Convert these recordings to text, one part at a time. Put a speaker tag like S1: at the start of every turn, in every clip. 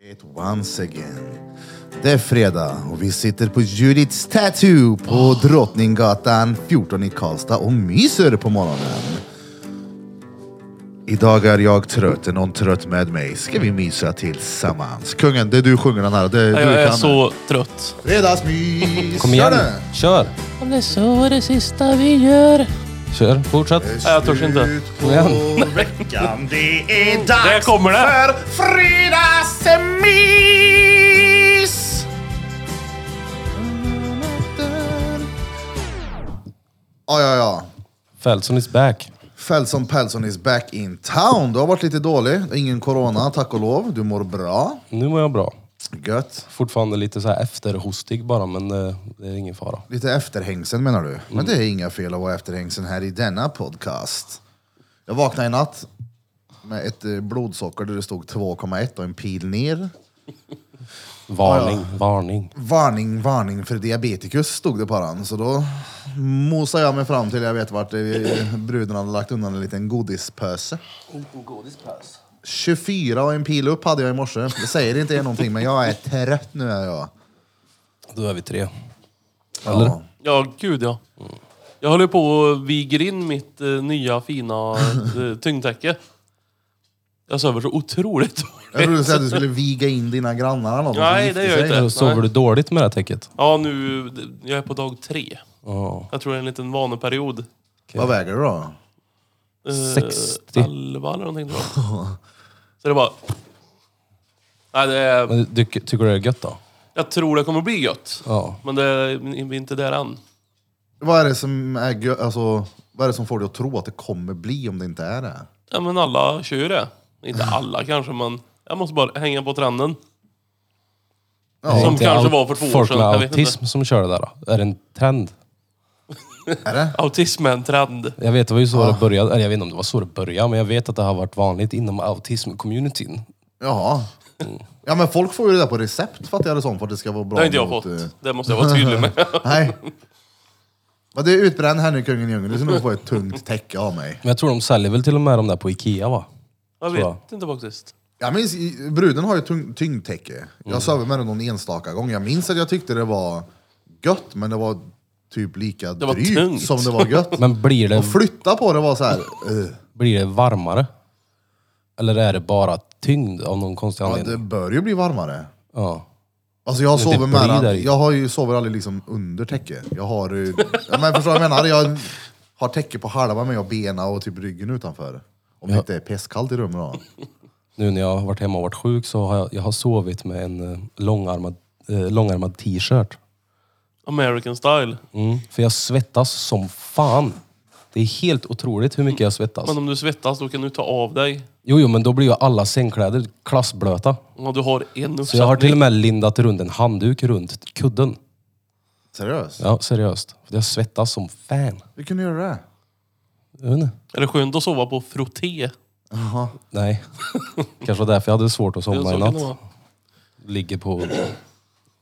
S1: It once again. Det är fredag och vi sitter på Judiths Tattoo på
S2: Ah.
S1: Drottninggatan 14 i Karlstad och myser på morgonen. Idag är jag trött, är någon trött med mig? Ska vi mysa tillsammans? Kungen, det är du sjunger den här. Det är du
S2: Jag är
S1: kan.
S2: så trött.
S1: Fredagsmys!
S3: Kom igen.
S1: Kör den.
S3: Kör.
S2: Om det så är det sista vi gör.
S3: Kör. Fortsätt.
S2: Nej, jag törs inte.
S1: Slut på
S3: Kom igen.
S1: veckan, det är dags
S2: Där kommer det.
S1: för fredagsmys! Ja, ja, ja.
S3: Fältson is back.
S1: Felson Pelson is back in town. Du har varit lite dålig. Ingen corona, tack och lov. Du mår bra.
S3: Nu mår jag bra.
S1: Gött.
S3: Fortfarande lite så här efterhostig bara, men eh, det är ingen fara.
S1: Lite efterhängsen menar du? Men det är
S2: Mm.
S1: inga fel att vara efterhängsen här i denna podcast. Jag vaknade i natt med ett eh, blodsocker där det stod 2,1 och en pil ner.
S3: Varning, varning.
S1: Varning, varning för diabetikus stod det på den. Så då mosade jag mig fram till jag vet vart eh, bruden hade lagt undan en liten godispöse. 24 och en pil upp hade jag i morse. Det säger inte er någonting men jag är trött nu är jag.
S3: Då är vi tre.
S1: Ja.
S2: Ja, gud ja. Jag håller på och viger in mitt eh, nya fina eh, tyngdtäcke. Jag sover så otroligt
S1: Jag
S2: dåligt.
S1: trodde du sa att du skulle viga in dina grannar eller något. som
S2: Nej,
S1: gifte
S2: det gör jag
S1: sig.
S2: inte.
S3: Eller Sover du dåligt med det här täcket?
S2: Ja, nu... Jag är på dag tre.
S3: Ja.
S2: Jag tror det är en liten vaneperiod.
S1: Vad väger du då?
S2: Eh,
S3: 60.
S2: 11 eller någonting tror jag. Så det är bara... Nej, det är,
S3: Men du, tycker du det är gött då?
S2: jag tror det kommer bli gött.
S3: Ja.
S2: Men det är, vi är inte där än.
S1: Vad är det som är gö- alltså, vad är det som får dig att tro att det kommer bli om det inte är det?
S2: Ja men alla kör ju det. Inte alla kanske men jag måste bara hänga på trenden.
S3: Det är
S2: Som
S3: inte
S2: kanske
S3: all-
S2: var för två år
S3: Folk
S2: sedan,
S3: med
S2: jag vet
S3: autism som kör det där. då. Är det en trend?
S1: Är det?
S2: Autism är en trend.
S3: Jag vet, det var ju så
S2: Ah.
S3: det började. Eller jag vet inte om det var så det började, men jag vet att det har varit vanligt inom autism-communityn.
S1: Jaha. Ja men folk får ju det där på recept fattar jag det som för att det ska vara bra.
S2: Det har inte jag
S1: mot,
S2: fått.
S1: eh,
S2: Det måste jag vara tydlig med.
S1: Nej. Men du är utbränd här nu kungen i djungeln. Du ska nog få ett tungt täcke av mig.
S3: Men jag tror de säljer väl till och med de där på Ikea va?
S2: Jag
S3: Tror
S2: vet inte faktiskt.
S1: Jag minns, i- bruden har ju tung, tyngdtäcke.
S2: Mm.
S1: Jag sov med den någon enstaka gång. Jag minns att jag tyckte det var gött men det var typ lika
S2: var
S1: drygt
S2: tungt.
S1: som det var gött.
S3: Men blir det
S1: Och flytta på det var så här. eh,
S3: Blir det varmare? Eller är det bara tyngd av någon konstig
S1: ja, det
S3: anledning?
S2: Mm.
S1: bör ju bli varmare.
S3: Ja.
S1: Alltså jag
S3: Det
S1: sover
S3: blir
S1: med
S3: där
S1: den.
S3: i.
S1: Jag har ju sover aldrig liksom under täcke. Jag har eh, ja, men förstår du vad jag menar? Jag har täcke på halva men jag har bena och typ ryggen utanför. Om det inte är pestkallt i rummet då.
S3: Nu när jag har varit hemma och varit sjuk så har jag, jag har sovit med en eh, långarmad, eh, långarmad t-shirt.
S2: American style.
S3: Mm. För jag svettas som fan. Det är helt otroligt hur mycket jag svettas.
S2: Men om du svettas då kan du ta av dig.
S3: Jo, jo, men då blir ju alla sängkläder klassblöta.
S2: Ja, du har en uppsättning.
S3: Så jag har till och med lindat runt en handduk runt kudden.
S1: Seriöst?
S3: Ja, seriöst. För jag svettas som fan.
S1: Vi kunde göra det.
S3: Jag vet inte.
S2: Är det skönt att sova på
S3: Oh
S2: frotté?
S3: Nej. Kanske var därför jag hade svårt att
S2: Ja,
S3: somna
S2: så
S3: i
S2: kan det
S3: natt.
S2: vara.
S3: Ligger på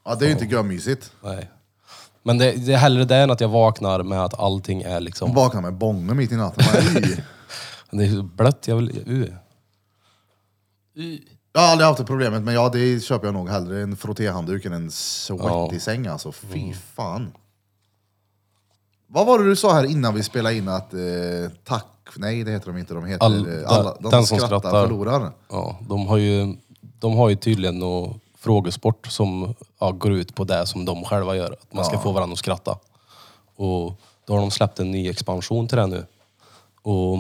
S1: Ja, det är ju inte görmysigt.
S3: Nej. Men det, det är hellre det än att jag vaknar med att allting är
S1: Man
S3: liksom...
S1: vaknar med bången mitt i natten. Man är i.
S3: Det är så blött, jag vill... Uh.
S1: Jag har aldrig haft det problemet men ja, det köper jag nog hellre. En frottéhandduk än en svettig
S3: Ja. Mm.
S1: säng alltså. Fy fan. Vad var det du sa här innan vi spelade in att eh, tack... Nej, det heter de inte. De heter...
S3: All-
S1: eh, alla, de den som skrattar, förlorar.
S3: Ja, de har ju, de har ju tydligen någon frågesport som ja, går ut på det som de själva gör. Att man ska få varandra att skratta. Och då har de släppt en ny expansion till det nu. Och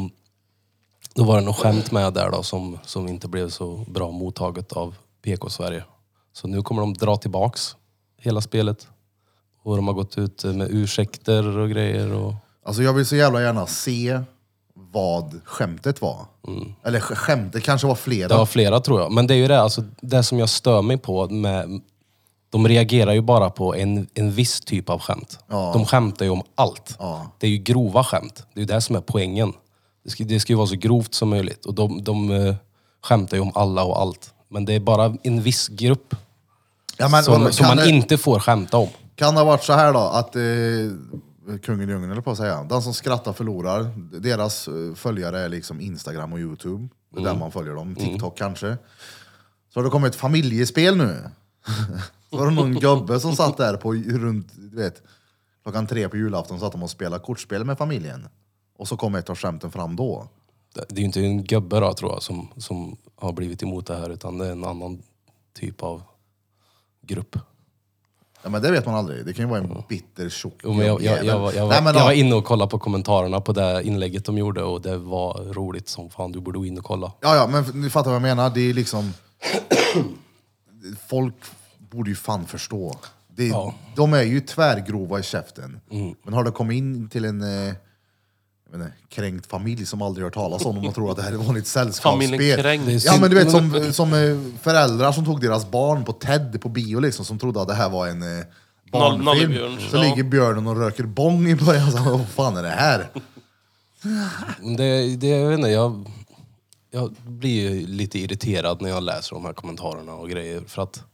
S3: då var det något skämt med där då som, som inte blev så bra mottaget av PK-Sverige. Så nu kommer de dra tillbaks hela spelet. Och de har gått ut med ursäkter och grejer. Och,
S1: Alltså jag vill så jävla gärna se vad skämtet var. Eller sk- skämtet kanske var flera.
S3: Det var flera tror jag. Men det är ju det, alltså, det som jag stör mig på med... De reagerar ju bara på en, en viss typ av skämt. De skämtar ju om allt.
S1: Ja.
S3: Det är ju grova skämt. Det är ju det som är poängen. Det ska, det ska ju vara så grovt som möjligt. Och de, de eh, skämtar ju om alla och allt. Men det är bara en viss grupp
S1: ja, men, vadå,
S3: som, som
S1: kan
S3: man
S1: det-
S3: inte får skämta om.
S1: Kan det ha varit så här då, att eh, kungen i djungeln eller på att säga, den som skrattar förlorar.
S3: Mm.
S1: Deras eh, följare är liksom Instagram och Youtube, Det är där man följer dem, TikTok kanske. Så Så har det kommit ett familjespel nu. Så var det någon gubbe som satt där på runt, du vet, klockan tre på julafton satt de och spelade kortspel med familjen. Och så kom ett av skämten fram då.
S3: Det det är ju inte en gubbe då, tror jag som, som har blivit emot det här utan det är en annan typ av grupp.
S1: Ja, men det vet man aldrig. Det kan ju vara en bitter tjock
S3: Jo, men jag, jag, jag, var- jag, var,
S1: Nej, men
S3: jag var
S1: ja.
S3: inne och kollade på kommentarerna på det inlägget de gjorde och det var roligt som fan. Du borde gå in och kolla.
S1: Ja, ja, men ni fattar vad jag menar. Det är liksom... Folk borde ju fan förstå. Det, De är ju tvärgrova i käften.
S3: Mm.
S1: Men har det kommit in till en eh, jag vet inte, kränkt familj som aldrig hört talas om dem och tror att det här är ett vanligt
S2: Familjen
S1: sällskapsspel.
S2: Kräng.
S3: Det är
S1: Ja
S3: synd.
S1: men du vet som, som eh, föräldrar som tog deras barn på Ted på bio liksom, som trodde att det här var en eh, barnfilm.
S2: Nollebjörn,
S1: så
S2: ja.
S1: ligger björnen och röker bong i början, så, vad fan är det här?
S3: Men Det, det, jag, vet inte, jag, jag blir ju lite irriterad när jag läser de här kommentarerna och grejer. För att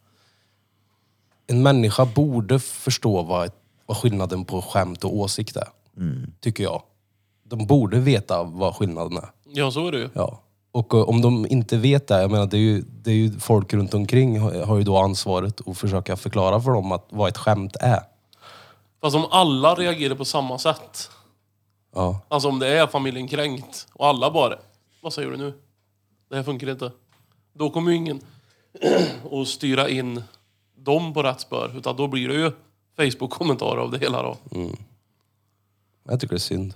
S3: en människa borde förstå vad, vad skillnaden på skämt och åsikt är.
S1: Mm.
S3: Tycker jag. De borde veta vad skillnaden är.
S2: Ja, så är det ju.
S3: Ja. Och eh, om de inte vet det, jag menar det är ju, det är ju folk runt omkring har, har ju då ansvaret att försöka förklara för dem att, vad ett skämt är.
S2: Fast om alla reagerar på samma sätt.
S3: Ja.
S2: Alltså om det är familjen kränkt och alla bara, vad säger du nu? Det här funkar inte. Då kommer ju ingen att styra in dem på rätt spår. Utan då blir det ju Facebook-kommentarer av det hela då.
S3: Jag tycker det är synd.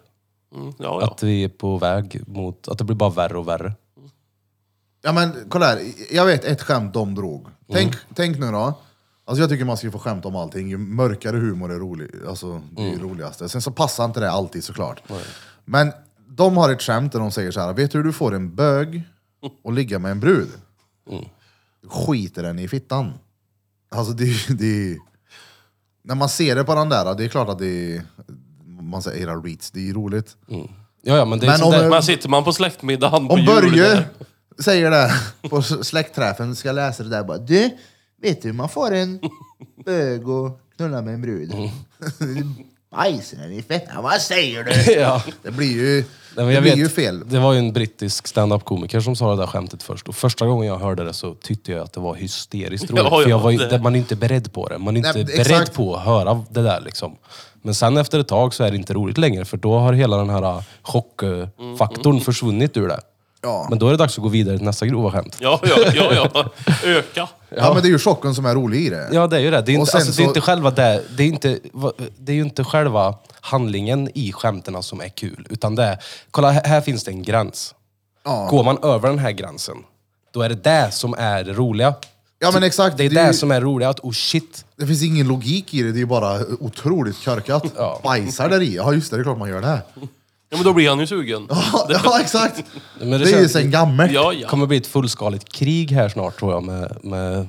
S2: Mm, ja, ja.
S3: Att vi är på väg mot, att det blir bara värre och värre.
S1: Ja men kolla här, jag vet ett skämt de drog. Tänk, tänk nu då. Alltså jag tycker man ska få skämta om allting. Ju mörkare humor är rolig, alltså, det är ju roligaste. Sen så passar inte det alltid såklart. Men de har ett skämt där de säger så här. vet du hur du får en bög och ligga med en brud? Skiter den i fittan. Alltså det, är- det är- När man ser det på den där, det är klart att det är... Man säger era reats, det är ju roligt.
S3: Ja, ja, men det är
S1: Men
S3: sånt
S1: om-
S3: där,
S2: Men sitter man på släktmiddagen på
S1: Om
S2: jul
S1: Börje
S2: där,
S1: säger det på släktträffen, ska jag läsa det där bara. Du, vet du hur man får en bög och knulla med en brud?
S3: Mm.
S1: Bajsen den i fettan, vad säger du?
S3: ja.
S1: Det blir ju,
S3: Nej, men
S1: det
S3: jag
S1: blir
S3: vet,
S1: ju fel.
S3: Det var ju en brittisk stand-up-komiker som sa det där skämtet först. Och första gången jag hörde det så tyckte jag att det var hysteriskt roligt.
S2: Ja,
S3: för
S2: ja,
S3: jag var, ju-
S2: det-
S3: det- man är inte beredd på det. Man är
S1: Nej,
S3: inte
S1: exakt.
S3: beredd på att höra det där liksom. Men sen efter ett tag så är det inte roligt längre. För då har hela den här
S2: Mm,
S3: chockfaktorn försvunnit ur det.
S1: Ja.
S3: Men då är det dags att gå vidare till nästa grova skämt.
S2: Ja, ja, ja, ja. Öka.
S1: Ja, men det är ju chocken som är rolig i det.
S3: Ja, det är ju det. Det är,
S1: Och
S3: inte,
S1: sen
S3: alltså, det är
S1: så-
S3: inte själva det. Det är, inte, va- det är ju inte själva handlingen i skämten som är kul. Utan det är, kolla här, här finns det en gräns.
S1: Ja.
S3: Går man över den här gränsen, då är det det som är det roliga.
S1: Ja, men exakt.
S3: Det är
S1: Det är
S3: det
S1: ju-
S3: som är roligt. Att, oh shit.
S1: Det finns ingen logik i det, det är ju bara otroligt körkat.
S3: Ja.
S1: Bajsar där i? Ja just det, det är klart man gör det.
S2: Ja, men då blir han ju sugen.
S1: Ja exakt!
S3: Men
S1: Det
S3: det
S1: är ju
S3: känns-
S1: sen gammalt.
S2: Ja,
S3: Det
S2: ja.
S3: kommer bli ett fullskaligt krig här snart tror jag med, med,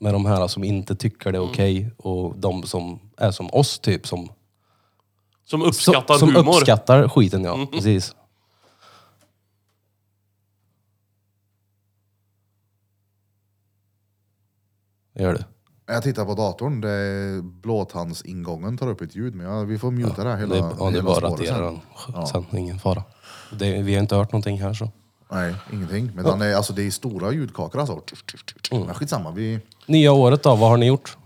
S3: med de här som inte tycker det
S1: Mm.
S3: är okej och de som är som oss typ. Som,
S2: Som uppskattar
S3: som
S2: humor. Mm.
S3: uppskattar skiten ja. Precis. Det gör du.
S1: Jag tittar på datorn, det är blåtandsingången tar upp ett ljud, men ja, vi får muta det här hela,
S3: Det är, ja, det är
S1: hela
S3: bara att
S1: spåret sen.
S3: radera den sen. Ingen fara. Det, vi har inte hört någonting här så.
S1: Nej, ingenting. Men den är, alltså, det är stora ljudkakor alltså. Men skitsamma, vi...
S3: Nya året då, vad har ni gjort?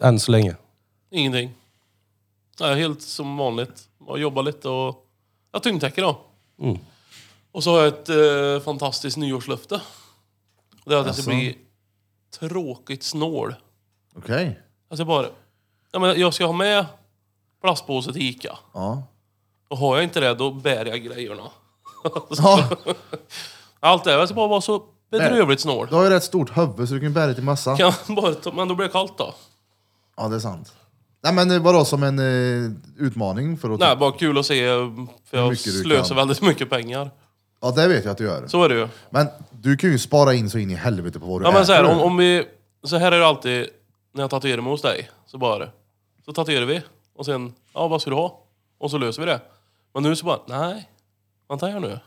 S3: Än så länge.
S2: Ingenting. Nej, helt som vanligt. Jag jobbar lite och... Jag tyngdtäcker då.
S3: Mm.
S2: Och så har jag ett eh, fantastiskt nyårslöfte. Det är att jag ska
S1: Alltså?
S2: bli tråkigt snål.
S1: Okej.
S2: Jag ska bara... Ja, men jag ska ha med plastpåse till Ica.
S1: Ja.
S2: Och har jag inte det, då bär jag grejerna.
S1: ja.
S2: Allt det här. Jag ska bara vara så bedrövligt snål.
S1: Du har ju rätt stort huvud så du kan ju bära det till mössa.
S2: Kan jag bara ta... Men då blir det kallt då.
S1: Ja, det är sant. Nej men eh, vadå, som en eh, utmaning för att... typ-
S2: Nej, bara kul att se. För
S1: Hur
S2: jag
S1: mycket du
S2: slösar
S1: kan.
S2: väldigt mycket pengar.
S1: Ja, det vet jag att du gör.
S2: Så är det ju.
S1: Men du kan ju spara in så in i helvete på vad du
S2: Ja men så här,
S1: äter.
S2: om, om vi... Så här är det alltid när jag tatuerar mig hos dig. Så bara... Så tatuerar vi. Och sen, ja vad ska du ha? Och så löser vi det. Men nu så bara, nej. Vänta här nu.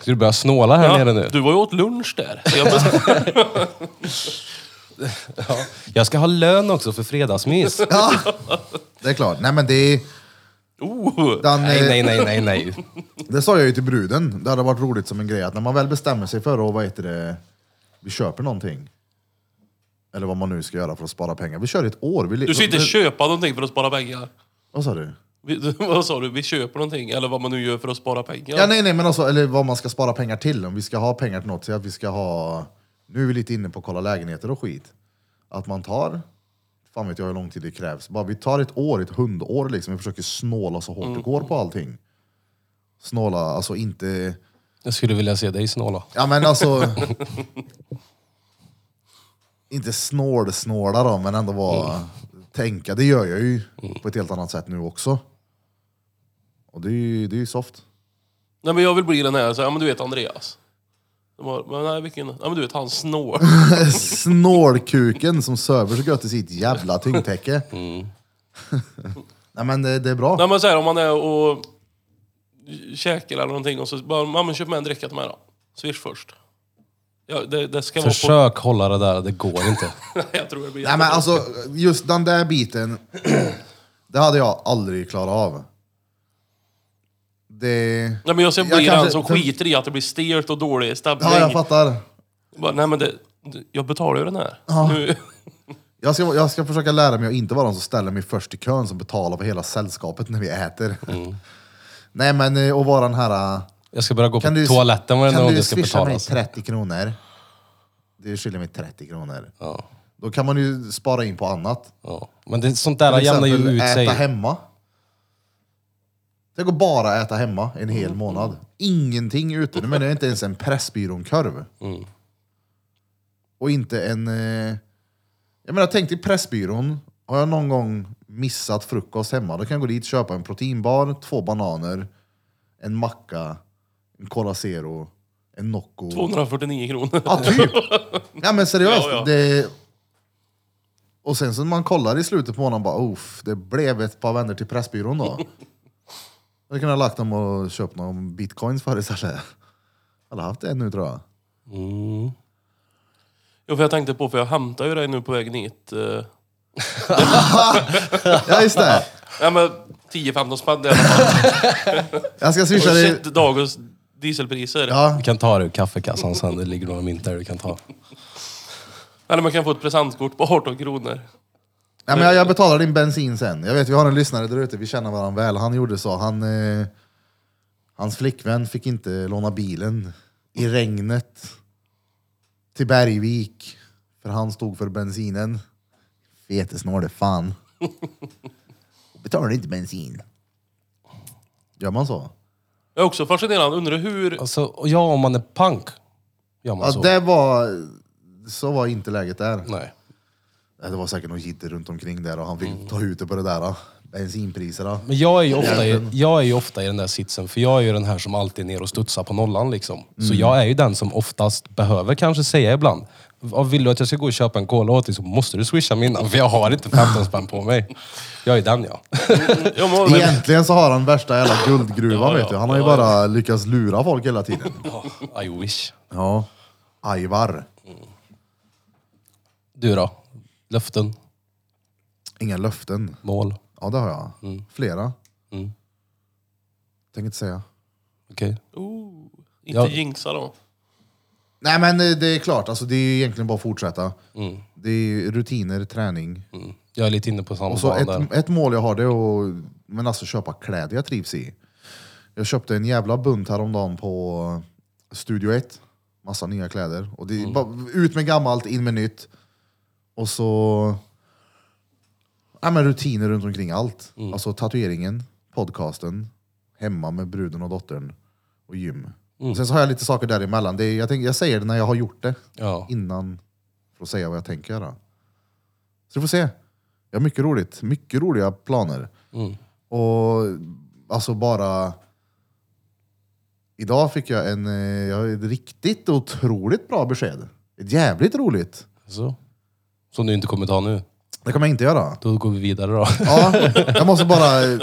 S3: Ska du börja snåla här nere nu?
S2: du var ju åt lunch där. Så jag bestämde-
S3: Jag ska ha lön också för fredagsmys.
S1: Ja, det är klart. Nej men det är...
S2: oh.
S1: Den,
S3: nej,
S1: eh,
S3: nej, nej, nej, nej.
S1: Det sa jag ju till bruden, det hade varit roligt som en grej att när man väl bestämmer sig för att vad heter det, vi köper någonting. Eller vad man nu ska göra för att spara pengar. Vi kör i ett år. Vi li-
S2: Du ska inte
S1: vi-
S2: köpa någonting för att spara pengar.
S1: Vad sa du?
S2: Vi, vad sa du? Vi köper någonting, eller vad man nu gör för att spara pengar.
S1: Ja, nej, nej, men alltså, eller vad man ska spara pengar till. Om vi ska ha pengar till något, säg att vi ska ha... Nu är vi lite inne på att kolla lägenheter och skit. Att man tar, fan vet jag hur lång tid det krävs. Bara vi tar ett år, ett hundår liksom. Vi försöker snåla så
S2: Mm.
S1: hårt det går på allting. Snåla, alltså inte...
S3: Jag skulle vilja se dig snåla.
S1: Ja men alltså... inte snål-snåla då, men ändå vara...
S2: Mm.
S1: Tänka, det gör jag ju på ett helt annat sätt nu också. Och det är ju, det är ju soft.
S2: Nej men jag vill bli den här, så, här, ja men du vet Andreas. De bara, men nej vilken, ja men du vet han snår.
S1: Snålkuken som söver så gött i sitt jävla tyngdtäcke. Nej men det, det är bra.
S2: Mm. nej men såhär om man är och käkar eller någonting och så bara, mamma köp med en dricka till mig då. Swish först. Ja, det, det ska vara
S3: Försök hålla det där, det går inte.
S2: på... jag tror det blir
S1: Nej men alltså, just den där biten, det hade jag aldrig klarat av. Det...
S2: Nej men jag ser
S1: Jag
S2: blir den
S1: kanske-
S2: som
S1: för-
S2: skiter i att det blir stelt och dålig stämning.
S1: Ja, jag fattar.
S2: bara, nej men det, jag betalar ju den här. Nu,
S1: Jag ska, jag ska försöka lära mig att inte vara den som ställer mig först i kön som betalar för hela sällskapet när vi äter.
S3: Mm.
S1: Nej men eh, att vara den här... eh,
S3: Jag ska börja gå
S1: Kan
S3: på
S1: du,
S3: toaletten varenda
S1: kan
S3: gång
S1: du
S3: det ska alltså.
S1: swisha
S3: betalas.
S1: mig 30 kronor? Du skiljer mig 30 kronor.
S3: Ja,
S1: Då kan man ju spara in på annat.
S3: ja. Men det, sånt där
S1: Till
S3: jämnar ju
S1: exempel
S3: ut
S1: äta
S3: sig.
S1: hemma. Det går bara att äta hemma en hel månad. Ingenting ute. Nu menar jag inte ens en Pressbyrån-korv. Och inte en... eh, Jag menar, tänk dig Pressbyrån. Har jag någon gång missat frukost hemma, då kan jag gå dit, köpa en proteinbar, två bananer, en macka, en Cola Zero, en Nocco.
S2: 249 kronor.
S1: Ja, typ. Ja, men seriöst.
S2: Ja, ja.
S1: Det... Och sen så när man kollar i slutet på månaden, bara uff, det blev ett par vänner till Pressbyrån då. Jag kunde ha lagt dem och köpt någon bitcoins för istället. Jag har haft det nu tror jag.
S3: Mm.
S2: Jo, för jag tänkte på, för jag hämtade ju dig nu på vägen hit. Eh,
S1: Ja, just det.
S2: nej men 10-15 spänn i alla fall.
S1: Jag ska swisha
S2: Har du
S1: dig.
S2: sett dagens dieselpriser?
S1: Ja,
S3: Du kan ta det ur kaffekassan sen, det ligger några mynt där du kan ta.
S2: Eller man kan få ett presentkort på 18 kronor.
S1: ja, men jag, jag betalar din bensin sen. Jag vet, vi har en lyssnare där ute, vi känner varandra väl. Han gjorde så. Han, eh, hans flickvän fick inte låna bilen i regnet till Bergvik. För han stod för bensinen. Fetesnåle fan. Betalar inte bensin. Gör man så?
S2: Jag är också fascinerad, undrar hur...
S3: Alltså, och ja, om man är punk gör man
S1: Ja,
S3: så.
S1: det var... Så var inte läget där.
S3: Nej.
S1: Nej, Det var säkert något jidder runt omkring där och han fick ta ut det på det där. då. Bensinpriserna.
S3: Men jag är, ju ofta i, jag är ju ofta i den där sitsen, för jag är ju den här som alltid är ner och studsar på nollan. Liksom.
S1: Mm.
S3: Så jag är ju den som oftast behöver kanske säga ibland, "Vad vill du att jag ska gå och köpa en cola åt dig så måste du swisha mig innan, för jag har inte 15 spänn på mig. Jag är den ja.
S2: Ja, men,
S1: Egentligen så har han värsta jävla guldgruvan
S2: Ja, ja,
S1: vet du. Han har ju
S2: ja,
S1: bara lyckats lura folk hela tiden.
S3: I wish.
S1: Ja. Ajvar.
S3: Du då? Löften?
S1: Inga löften.
S3: Mål?
S1: Ja det har jag.
S2: Mm.
S1: Flera. Tänker inte säga.
S3: Okej.
S2: oh, inte
S3: Ja.
S2: jinxa då.
S1: Nej men eh, det är klart, alltså, det är ju egentligen bara att fortsätta.
S2: Mm.
S1: Det är ju rutiner, träning.
S3: Mm. Jag är lite inne på samma
S1: Och så
S3: bana där.
S1: ett, ett mål jag har det är att men alltså, köpa kläder jag trivs i. Jag köpte en jävla bunt häromdagen på Studio 1. Massa nya kläder. Och det är bara, ut med gammalt, in med nytt. Och så ja, men rutiner runt omkring allt. Alltså tatueringen, podcasten, hemma med bruden och dottern och gym. Sen så har jag lite saker däremellan. Det är, jag, tänker, jag säger det när jag har gjort det
S3: Ja.
S1: innan för att säga vad jag tänker göra. Så du får se. Jag har mycket roligt. Mycket roliga planer.
S3: Mm.
S1: Och alltså bara... Idag fick jag en, eh, jag har ett riktigt otroligt bra besked. Ett jävligt roligt.
S3: Så. Som du inte kommer ta nu.
S1: Det kommer jag inte göra.
S3: Då går vi vidare då.
S1: Ja, jag måste bara eh,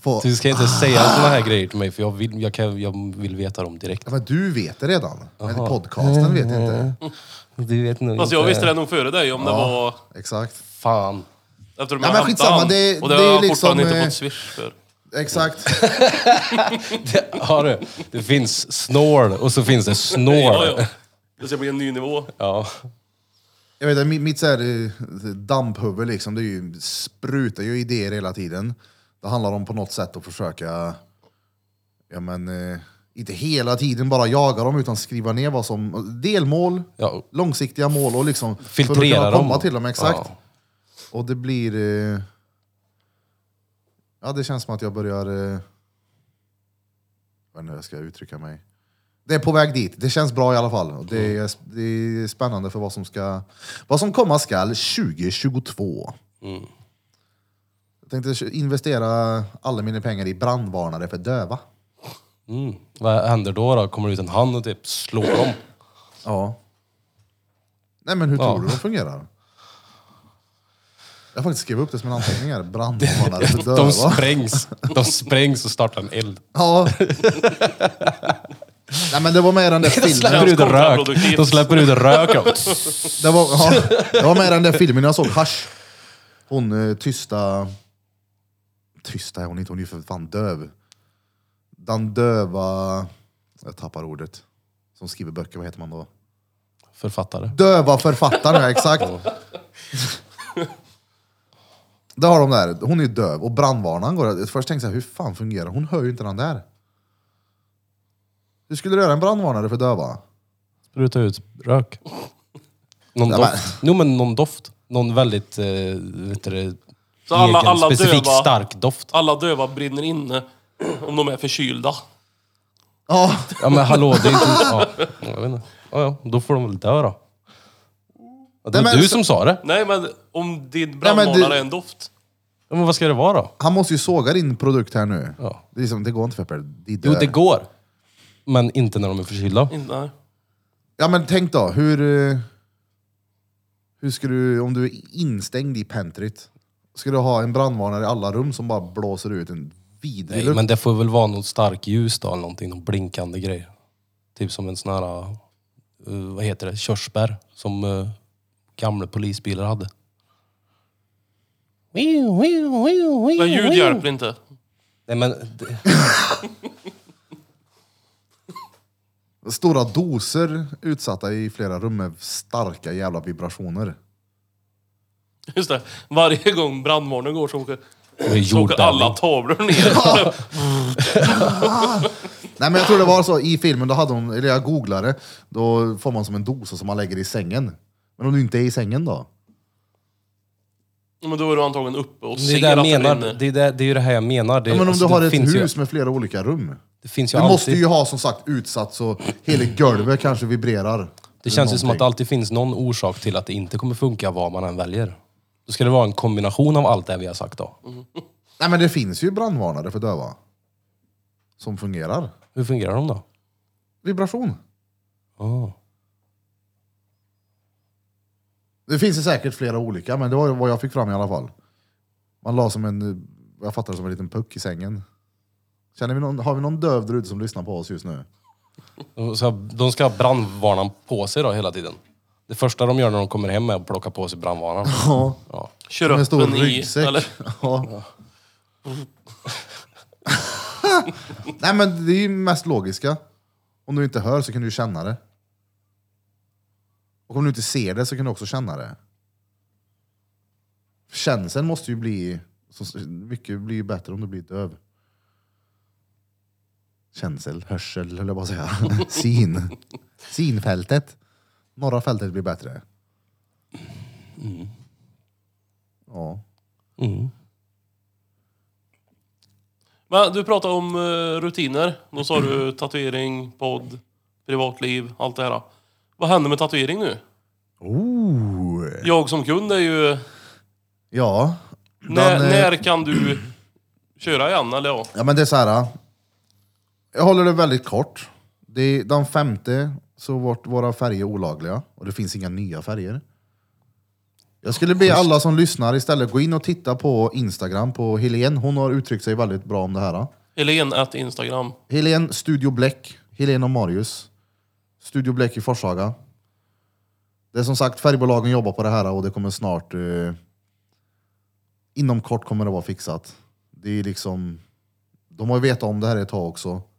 S1: få...
S3: Du ska inte säga såna här grejer till mig för jag vill, jag kan, jag vill veta dem direkt.
S1: Ja, men du vet det redan. Men podcasten vet jag inte.
S3: Du vet nog
S2: Fast jag visste det nog före dig om det var...
S1: Exakt.
S3: Fan.
S2: Eftersom
S1: Ja,
S2: jag
S1: men
S2: hämtade
S1: skitsamma,
S2: han.
S1: det-
S2: och det,
S1: det är
S2: har jag
S1: liksom,
S2: fortfarande inte
S1: eh,
S2: fått swish för.
S1: Exakt.
S3: Det, har du? Det finns snål och så finns det snål.
S2: Ja, ja. Det ska bli en ny nivå.
S3: Ja.
S1: Jag vet, mitt, mitt så här, eh, damphuvud liksom, det är ju, sprutar ju idéer hela tiden. Det handlar om på något sätt att försöka, ja men, eh, inte hela tiden bara jaga dem utan skriva ner vad som, delmål,
S3: Ja.
S1: långsiktiga mål och liksom för att
S3: Filtrera
S1: kunna
S3: dem.
S1: komma till dem. Exakt.
S3: Ja.
S1: Och det blir, eh, ja det känns som att jag börjar, eh, jag vet inte hur jag ska uttrycka mig. Det är på väg dit. Det känns bra i alla fall. Och
S3: Mm.
S1: Det är, det är spännande för vad som, ska, vad som komma skall 2022.
S3: Mm.
S1: Jag tänkte investera alla mina pengar i brandvarnare för döva.
S3: Mm. Vad händer då? då? Kommer det ut en hand och typ slår dem?
S1: Ja. Nej men hur
S3: Ja.
S1: tror du de fungerar? Jag har faktiskt skrivit upp det som en anteckning här. Brandvarnare för döva.
S3: De sprängs. De sprängs och startar en eld.
S1: Ja. Nej men det var med i den där filmen.
S3: Släpper ut rök.
S2: kontraproduktivt.
S3: De släpper ut rök. och-
S1: Det var, ja, det var med i den där filmen jag såg. Hasch. Hon eh, tysta... Tysta är hon inte, hon är ju för fan döv. Den döva... Jag tappar ordet. Som skriver böcker, vad heter man då?
S3: Författare.
S1: Döva författaren, ja exakt. Det har de där. Hon är ju döv och brandvarnaren går. Först tänkte jag, hur fan fungerar Hon hör ju inte den där. Hur skulle du göra en brandvarnare för döva?
S3: Spruta ut rök. Någon
S1: Nej,
S3: doft. Jo men någon doft. Någon väldigt, eh, vet du det,
S2: Så alla-
S3: egen,
S2: alla
S3: specifik
S2: döva-
S3: stark doft.
S2: Alla döva brinner inne om de är förkylda.
S1: Ja,
S3: Ja men hallå, det är inte... Ja, jag vet inte. Ja, ja, då får de väl dö då. Ja, Det
S1: Nej,
S3: var
S1: men
S3: du
S1: så-
S3: som sa det.
S2: Nej men om din
S1: men
S2: brandvarnare
S1: du-
S2: är en doft.
S3: Ja, men vad ska det vara då?
S1: han måste ju såga din produkt här nu.
S3: Ja.
S1: Det, är liksom, det går inte Pepper. De
S3: Jo
S1: dör.
S3: det går. Men inte när de är förkylda.
S2: Inte- Nej.
S1: Ja men tänk då, hur... eh, Hur ska du, om du är instängd i pentryt, ska du ha en brandvarnare i alla rum som bara blåser ut en vidrig
S3: Nej,
S1: lukt?
S3: men det får väl vara något starkt ljus då eller någonting. Någon blinkande grej. Typ som en sån här, eh, vad heter det, körsbär. Som eh, gamla polisbilar hade.
S2: Men ljud hjälper inte.
S3: Nej men, det-
S1: Stora doser utsatta i flera rum med starka jävla vibrationer.
S2: Just det. Varje gång brandvarnaren går så åker,
S3: det är
S2: så åker alla
S3: jordbävning.
S2: tavlor ner.
S1: Nej men jag tror det var så i filmen, då hade hon, eller jag googlade, då får man som en dosa som man lägger i sängen. Men om du inte är i sängen då?
S2: Men då är du antagligen uppe och
S3: Det är, det,
S2: ser
S3: jag
S2: att
S3: menar.
S2: den är
S3: Det, är det, det är ju det här jag menar. Det,
S1: Ja, men om
S3: alltså,
S1: du har
S3: det
S1: ett
S3: finns
S1: hus
S3: ju-
S1: med flera olika rum.
S3: det finns ju
S1: Du måste
S3: alltid,
S1: ju ha som sagt utsatt så hela golvet kanske vibrerar.
S3: det känns ju som att det alltid finns någon orsak till att det inte kommer funka vad man än väljer. Då ska det vara en kombination av allt det vi har sagt då.
S1: Nej men det finns ju brandvarnare för döva. Som fungerar.
S3: Hur fungerar de då?
S1: Vibration.
S3: Ah.
S1: Det finns ju säkert flera olika, men det var ju vad jag fick fram i alla fall. Man la som en, eh, vad jag fattar det som en liten puck i sängen. Känner vi någon, har vi någon döv där ute som lyssnar på oss just nu?
S3: De ska, de ska ha brandvarnaren på sig då hela tiden. Det första de gör när de kommer hem är att plocka på sig brandvarnaren.
S1: Ja.
S3: Ja.
S2: Kör
S1: Som en
S2: upp
S1: stor
S2: den i...
S1: ryggsäck.
S2: Eller,
S1: Ja. Nej men det är ju mest logiska. Om du inte hör så kan du ju känna det. Och om du inte ser det så kan du också känna det. Känslan måste ju bli... Så mycket blir ju bättre om du blir döv. Känsel, hörsel höll jag på att säga. Syn. Synfältet. Norra fältet blir bättre. Ja.
S3: Mm.
S2: men du pratade om eh, rutiner. Då sa du tatuering, podd, privatliv, allt det här. Vad händer med tatuering nu?
S1: Oh.
S2: Jag som kund är ju...
S1: Ja.
S2: När,
S1: Den, eh,
S2: när kan du köra igen? Eller ja?
S1: Ja men det är så här. äh, Jag håller det väldigt kort. Det är, den femte så vart våra färger olagliga och det finns inga nya färger. Jag skulle be alla som lyssnar istället gå in och titta på Instagram på Helen. Hon har uttryckt sig väldigt bra om det här.
S2: Helen at Instagram.
S1: Helen Studio Bläck, Helen och Marius. Studio Bläck i Forshaga. Det är som sagt färgbolagen jobbar på det här och det kommer snart... Eh, inom kort kommer det vara fixat. Det är liksom... De har ju vetat om det här ett tag också. Och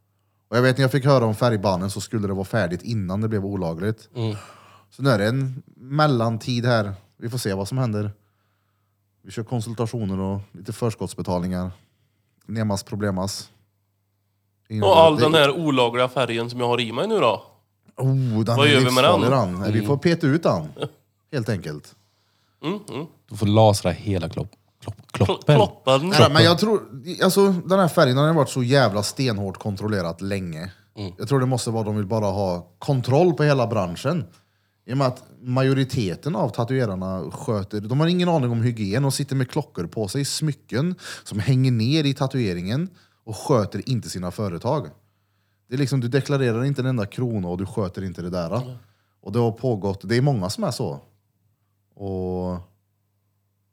S1: Och jag vet när jag fick höra om färgbanen så skulle det vara färdigt innan det blev olagligt.
S2: Mm.
S1: Så nu är det en mellantid här. Vi får se vad som händer. Vi kör konsultationer och lite förskottsbetalningar. Nemas problemas. Ingen
S2: Och all
S1: det-
S2: den här olagliga färgen som jag har i mig nu då.
S1: Oh, den
S2: Vad
S1: är
S2: gör vi med
S1: livsfarlig,
S2: den? Mm.
S1: den. Nej, Vi får peta ut den. Helt enkelt.
S3: Du får lasra hela klopp, klopp, kloppen.
S2: Ploppen.
S1: Nej, men jag tror, alltså, den här färgen den har varit så jävla stenhårt kontrollerat länge.
S2: Mm.
S1: Jag tror det måste vara de vill bara ha kontroll på hela branschen. I och med att majoriteten av tatuerarna sköter, de har ingen aning om hygien och sitter med klockor på sig, smycken som hänger ner i tatueringen och sköter inte sina företag. Det är liksom, du deklarerar inte en enda krona och du sköter inte det där.
S2: Mm.
S1: Och det har pågått, det är många som är så. Och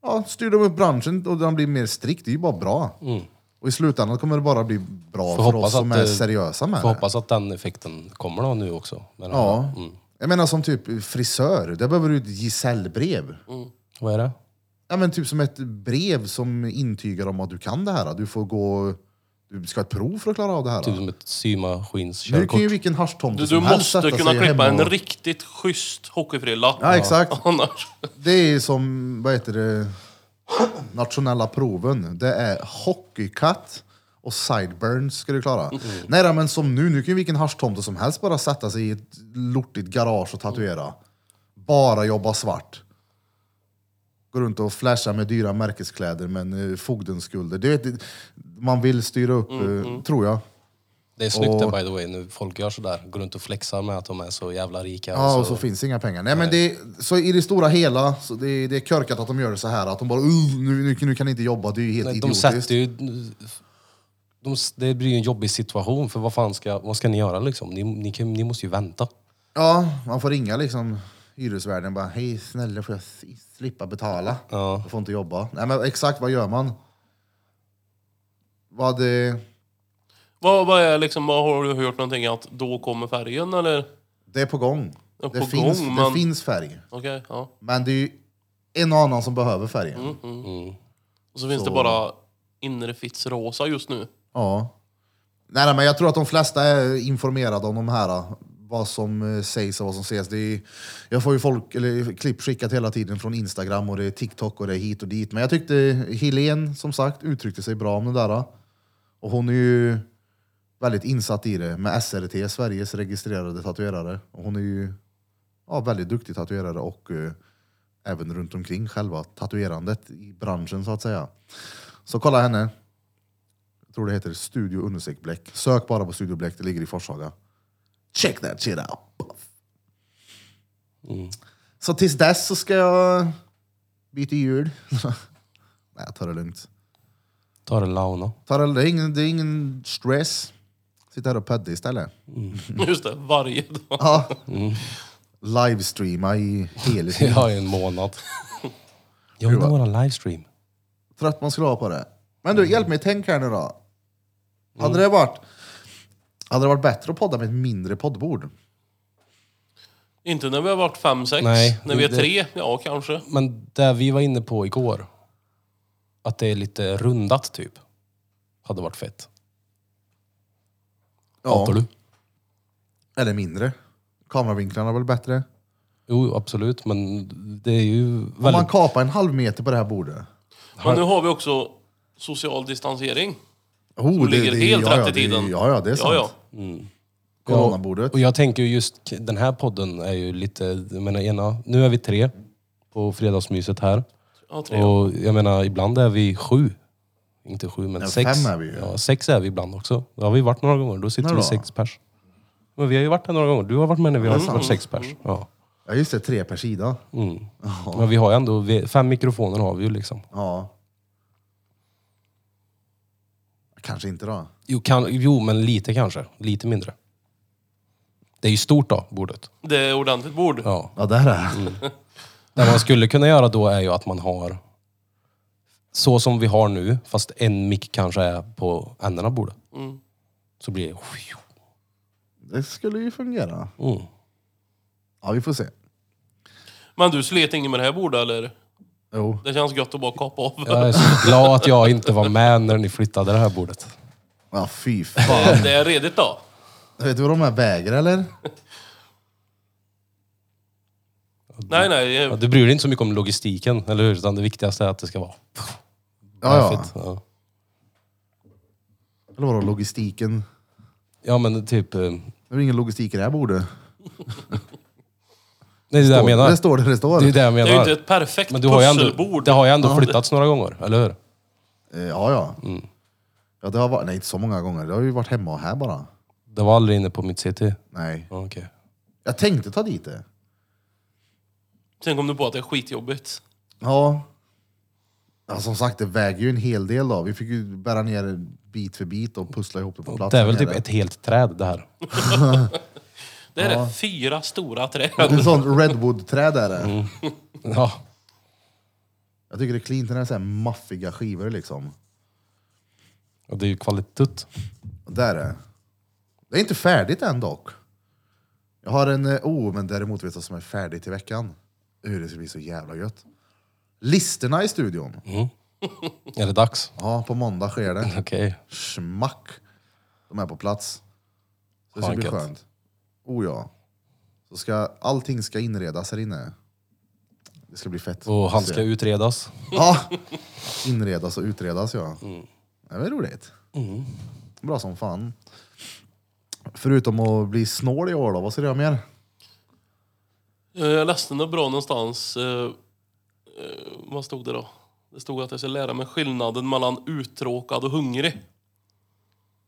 S1: ja, styr de upp branschen och den blir mer strikt, det är ju bara bra. Och i slutändan kommer det bara bli bra
S3: Mm. Får
S1: för
S3: hoppas
S1: oss som
S3: att
S1: är
S3: det-
S1: seriösa med
S3: Får
S1: det.
S3: hoppas Mm. att den effekten kommer då nu också. Men, eh,
S1: Ja. Jag menar som typ frisör, där behöver du ett gesällbrev.
S3: Vad är det?
S1: Ja, men typ som ett brev som intygar om att du kan det här. Du får gå, du ska ha ett prov för att klara av det här.
S3: Typ som ett
S1: nu
S3: symaskinskörkort.
S1: kan ju vilken haschtomte
S2: Du, du
S1: som helst
S2: måste
S1: sätta
S2: kunna
S1: sig hemma
S2: klippa en
S1: och-
S2: riktigt schysst hockeyfrilla.
S1: Ja, exakt.
S2: Annars.
S1: Det är ju som, vad heter det, nationella proven. Det är hockeykatt och sideburns ska du klara. Nej då, men som nu, nu kan ju vilken haschtomte som helst bara sätta sig i ett lortigt garage och tatuera. Bara jobba svart. Gå runt och flasha med dyra märkeskläder men eh, fogdens skulder. Du vet, man vill styra upp, eh, tror jag.
S3: Det är snyggt det by the way, nu folk gör sådär. Går runt och flexar med att de är så jävla rika.
S1: Ja,
S3: och
S1: och så finns inga pengar. Nej, men det, så i det stora hela, så det, det är körkat att de gör det så här. Att de bara "Uh, nu, nu, nu kan ni inte jobba, det är ju helt
S3: Nej, de
S1: idiotiskt.
S3: sätter ju... De, det blir ju en jobbig situation, för vad fan ska, vad ska ni göra liksom? Ni, ni, kan, ni måste ju vänta.
S1: Ja, man får ringa liksom hyresvärden bara hej snälla får jag s- slippa betala?
S3: Ja.
S1: Jag får inte jobba. Nej men exakt vad gör man? Vad det,
S2: Vad, vad är liksom, vad har du hört någonting att då kommer färgen eller?
S1: det är på gång.
S2: Ja,
S1: det,
S2: på
S1: finns,
S2: gång,
S1: det
S2: men-
S1: finns färg.
S2: Okej, ja. Mm-hmm.
S1: Men det är ju en och annan som behöver färgen.
S3: Mm.
S2: Och så finns
S1: Så-
S2: det bara inre fits rosa just nu.
S1: Ja. Nej, nej, men jag tror att de flesta är informerade om de här. eh, Vad som eh, sägs och vad som ses. Det är, jag får ju folk, eller, klipp skickat hela tiden från Instagram och det är TikTok och det är hit och dit. Men jag tyckte Helene, som sagt, uttryckte sig bra om det där. Och hon är ju väldigt insatt i det med SRT, Sveriges registrerade tatuerare. Och hon är ju ja, väldigt duktig tatuerare och eh, även runt omkring själva tatuerandet i branschen så att säga. Så kolla henne, jag tror det heter Studio Understreck Bläck. Sök bara på Studio Bläck, det ligger i Forshaga. Check that shit out! Buff. Så tills dess så ska jag byta hjul. Nej, jag tar det lugnt.
S3: Ta det launa.
S1: Tar det, det, är ingen, det är ingen stress. Sitta här och pudda istället.
S2: Just det, varje dag.
S1: Ja. Livestreama i hela
S3: Jag
S1: sin...
S3: har ju en månad. Jag vill vara livestream.
S1: Trött man skulle ha på det. Men du, hjälp mig tänk här nu då. Hade det varit... Hade det varit bättre att podda med ett mindre poddbord?
S2: Inte när vi har varit fem, sex.
S3: Nej,
S2: när vi är
S3: det-
S2: tre, ja kanske.
S3: Men det vi var inne på igår, att det är lite rundat typ, hade varit fett. Hatar du?
S1: Eller mindre. Kameravinklarna är väl bättre?
S3: Jo, absolut, men det är ju
S1: Om man
S3: väldigt...
S1: kapar en halv meter på det här bordet.
S2: Men nu har vi också social distansering.
S1: Oh,
S2: ligger helt
S1: ja, ja,
S2: rätt i
S1: det är-
S2: tiden.
S1: Ja, ja, det är sant.
S2: Ja, ja.
S1: Coronabordet.
S3: Och jag tänker ju just k- den här podden är ju lite, jag menar ena, nu är vi tre på fredagsmyset här.
S2: ja tre.
S3: Och jag menar ibland är vi sju. Inte sju men
S1: Ja,
S3: sex.
S1: fem är vi ju.
S3: Ja, sex är vi ibland också. Det har vi varit några gånger, då sitter
S1: När
S3: vi
S1: då?
S3: sex pers. Men vi har ju varit här några gånger, du har varit med när vi har varit sex pers. Ja. Mm.
S1: Ja, just det. Tre per sida.
S3: Men vi har ju ändå, vi, fem mikrofoner har vi ju liksom.
S1: Ja. Kanske inte då.
S3: Jo, kan, jo men lite kanske, lite mindre. Det är ju stort då, bordet.
S2: Det är ordentligt bord.
S3: Ja.
S1: Ja, där är det.
S3: Det man skulle kunna göra då är ju att man har så som vi har nu, fast en mick kanske är på änden av bordet. Så blir det...
S1: Det skulle ju fungera.
S3: Mm.
S1: Ja, vi får se.
S2: Men du slet ingen med det här bordet eller?
S1: Jo.
S2: Det känns gött att bara kapa av.
S3: Jag är så glad att jag inte var med när ni flyttade det här bordet.
S1: Ja, fy fan.
S2: Det är redigt då.
S1: Vet du vad de är? Väger eller?
S2: Nej, nej.
S3: Ja,
S2: eh,
S3: du bryr dig inte så mycket om logistiken, eller hur? Utan det viktigaste är att det ska vara
S1: Ja, ja.
S3: perfekt. Ja.
S1: Eller vadå logistiken?
S3: ja, men typ... eh,
S1: Det är väl ingen logistik i det här bordet?
S3: Nej, det är det jag
S1: Det
S3: menar.
S1: står det det står.
S3: Det är det jag
S2: Det
S3: menar.
S2: är ju inte ett perfekt
S3: men du har ju ändå,
S2: pusselbord.
S3: det har ju ändå flyttats några gånger, eller hur?
S1: Eh, Ja, ja. Ja, det har varit, nej inte så många gånger. Det har ju varit hemma och här bara.
S3: Det var aldrig inne på mitt city.
S1: Nej.
S3: Ja, Okej.
S1: Jag tänkte ta dit det.
S2: Sen kom du på att det är skitjobbigt.
S1: Ja. ja. Som sagt, det väger ju en hel del då. Vi fick ju bära ner bit för bit och pussla ihop det på plats.
S3: Det är väl
S1: här
S3: typ
S1: nere.
S3: ett helt träd det här.
S2: Det är fyra stora
S1: Det är
S2: träd.
S1: ett sånt redwood-träd är det.
S3: Mm. Ja.
S1: Jag tycker det är cleant när det är så här maffiga skivor liksom.
S3: Och det är ju kvalitet.
S1: Och Där är det. Det är inte färdigt än dock. Jag har en eh, oh, men däremot vet jag som är färdig till veckan. Hur det ska bli så jävla gött. Listerna i studion.
S3: Mm. Är det dags?
S1: Ja, på måndag sker det.
S3: Okej.
S1: Smack. De är på plats. Så det
S3: Fan,
S1: ska bli
S3: gött.
S1: skönt. Oh ja. Så ska, allting ska inredas här inne. Det ska bli fett.
S3: Och han ska utredas.
S1: Ja. Inredas och utredas ja. Det var roligt. Bra som fan. Förutom att bli snål i år då, vad ska du göra mer?
S2: Eh, Jag läste något bra någonstans. eh, eh, Vad stod det då? Det stod att jag ska lära mig skillnaden mellan uttråkad och hungrig.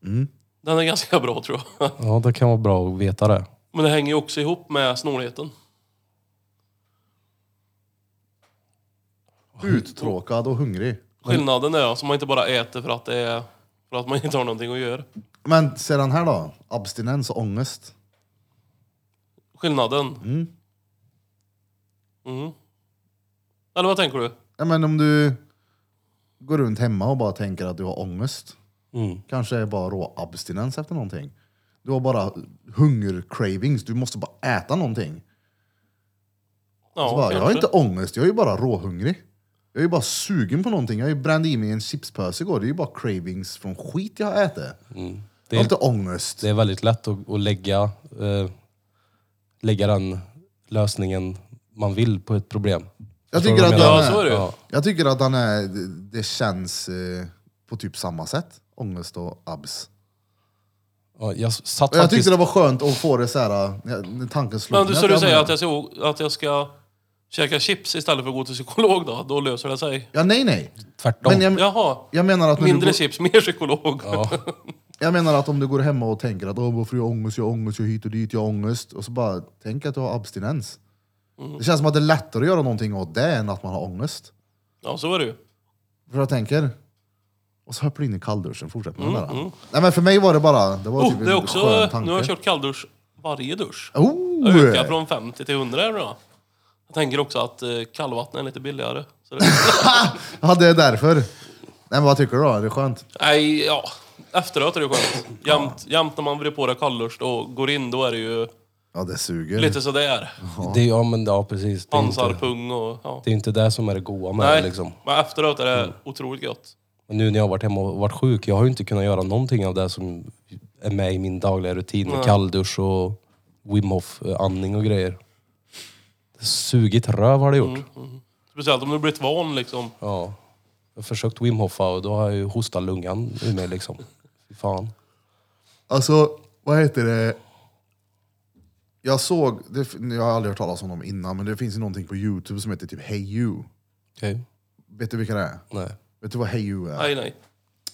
S1: Mm.
S2: Den är ganska bra tror jag.
S3: Ja, det kan vara bra att veta det. Mm.
S2: Men det hänger ju också ihop med snålheten.
S1: Uttråkad och hungrig.
S2: Skillnaden är alltså man inte bara äter för att, det är, för att man inte har någonting att göra.
S1: Men sedan här då? Abstinens och ångest.
S2: Skillnaden. Mm. Eller vad tänker du?
S1: Ja, men om du går runt hemma och bara tänker att du har ångest.
S2: Mm.
S1: Kanske är bara rå abstinens efter någonting. Du har bara hunger-cravings, du måste bara äta någonting.
S2: Ja,
S1: Så bara, Alltså, jag har
S2: kanske.
S1: inte ångest, jag är ju bara råhungrig. Jag är ju bara sugen på någonting. Jag har ju bränt i mig en chipspåse igår. Det är ju bara cravings från skit jag har ätit.
S3: Det
S1: Jag har
S3: är,
S1: inte ångest.
S3: det är väldigt lätt att, att lägga, eh, lägga den lösningen man vill på ett problem.
S1: Jag
S3: Förstår
S1: tycker
S3: du vad
S1: att
S3: jag
S1: den
S3: menar?
S2: Ja, så är det ju.
S3: Ja.
S1: Jag tycker att han är, det- det känns eh, på typ samma sätt. Ångest och abs.
S3: Ja, jag satt
S1: Och jag
S3: faktiskt...
S1: tyckte det var skönt att få det så här, när- när tanken slog
S2: Men du,
S1: mig
S2: så du
S1: jag-
S2: säger att jag, ska, att jag ska käka chips istället för att gå till psykolog då? Då löser det sig.
S1: Ja, nej, nej.
S3: Tvärtom.
S1: Men jag,
S2: Jaha.
S1: jag, menar att när du
S2: Mindre
S1: går,
S2: chips, mer psykolog.
S3: Ja.
S1: jag menar att om du går hemma och tänker att Åh, varför har jag ångest, jag har ångest, jag har hit och dit, jag har ångest. Och så bara tänk att du har abstinens.
S2: Mm.
S1: Det känns som att det är lättare att göra någonting åt det än att man har ångest.
S2: Ja, så är det ju.
S1: För jag tänker, och så hoppar du in i kallduschen, fortsätter med det där. Nej men för mig var det bara, det var
S2: Mm, Oh,
S1: typ en
S2: det är också,
S1: skön
S2: nu
S1: tanke.
S2: har jag kört kalldusch varje dusch.
S1: Oh!
S2: Jag ökar från 50 till 100 euro. då. Jag tänker också att eh, kallvatten är lite billigare. Så det,
S1: Ah! Ja, det är därför. Nej, men vad tycker du då? Är det skönt?
S2: nej, ja. Efteråt är det ju skönt. Jämt, jämt när man vrider på det kalldusch och går in, då är det ju
S1: Ja, det suger.
S2: lite
S1: Mm.
S2: sådär.
S3: Det, ja, men, ja, precis. Det är, inte,
S2: Pansarpung och... Ja.
S3: det är inte det som är det goa med det.
S2: Nej,
S3: Liksom.
S2: men efteråt är
S1: Mm.
S2: det otroligt gott.
S3: Och nu när jag har varit hemma och varit sjuk, jag har ju inte kunnat göra någonting av det som är med i min dagliga rutin. Med kalldusch och Wim Hof eh, andning och grejer. Det sugit röv har det
S2: Mm.
S3: gjort.
S2: Speciellt om du blivit van liksom.
S3: Ja. Jag har försökt Wim Hofa och då har jag ju hostat lungan ur mig liksom. Fy fan.
S1: Alltså, vad heter det? Jag såg, det, jag har aldrig hört talas om dem innan, men det finns ju någonting på Youtube som heter typ Hey You.
S3: Okej.
S1: Vet du vilka det är?
S3: Nej.
S1: Vet du vad Hey You är?
S2: Nej, nej.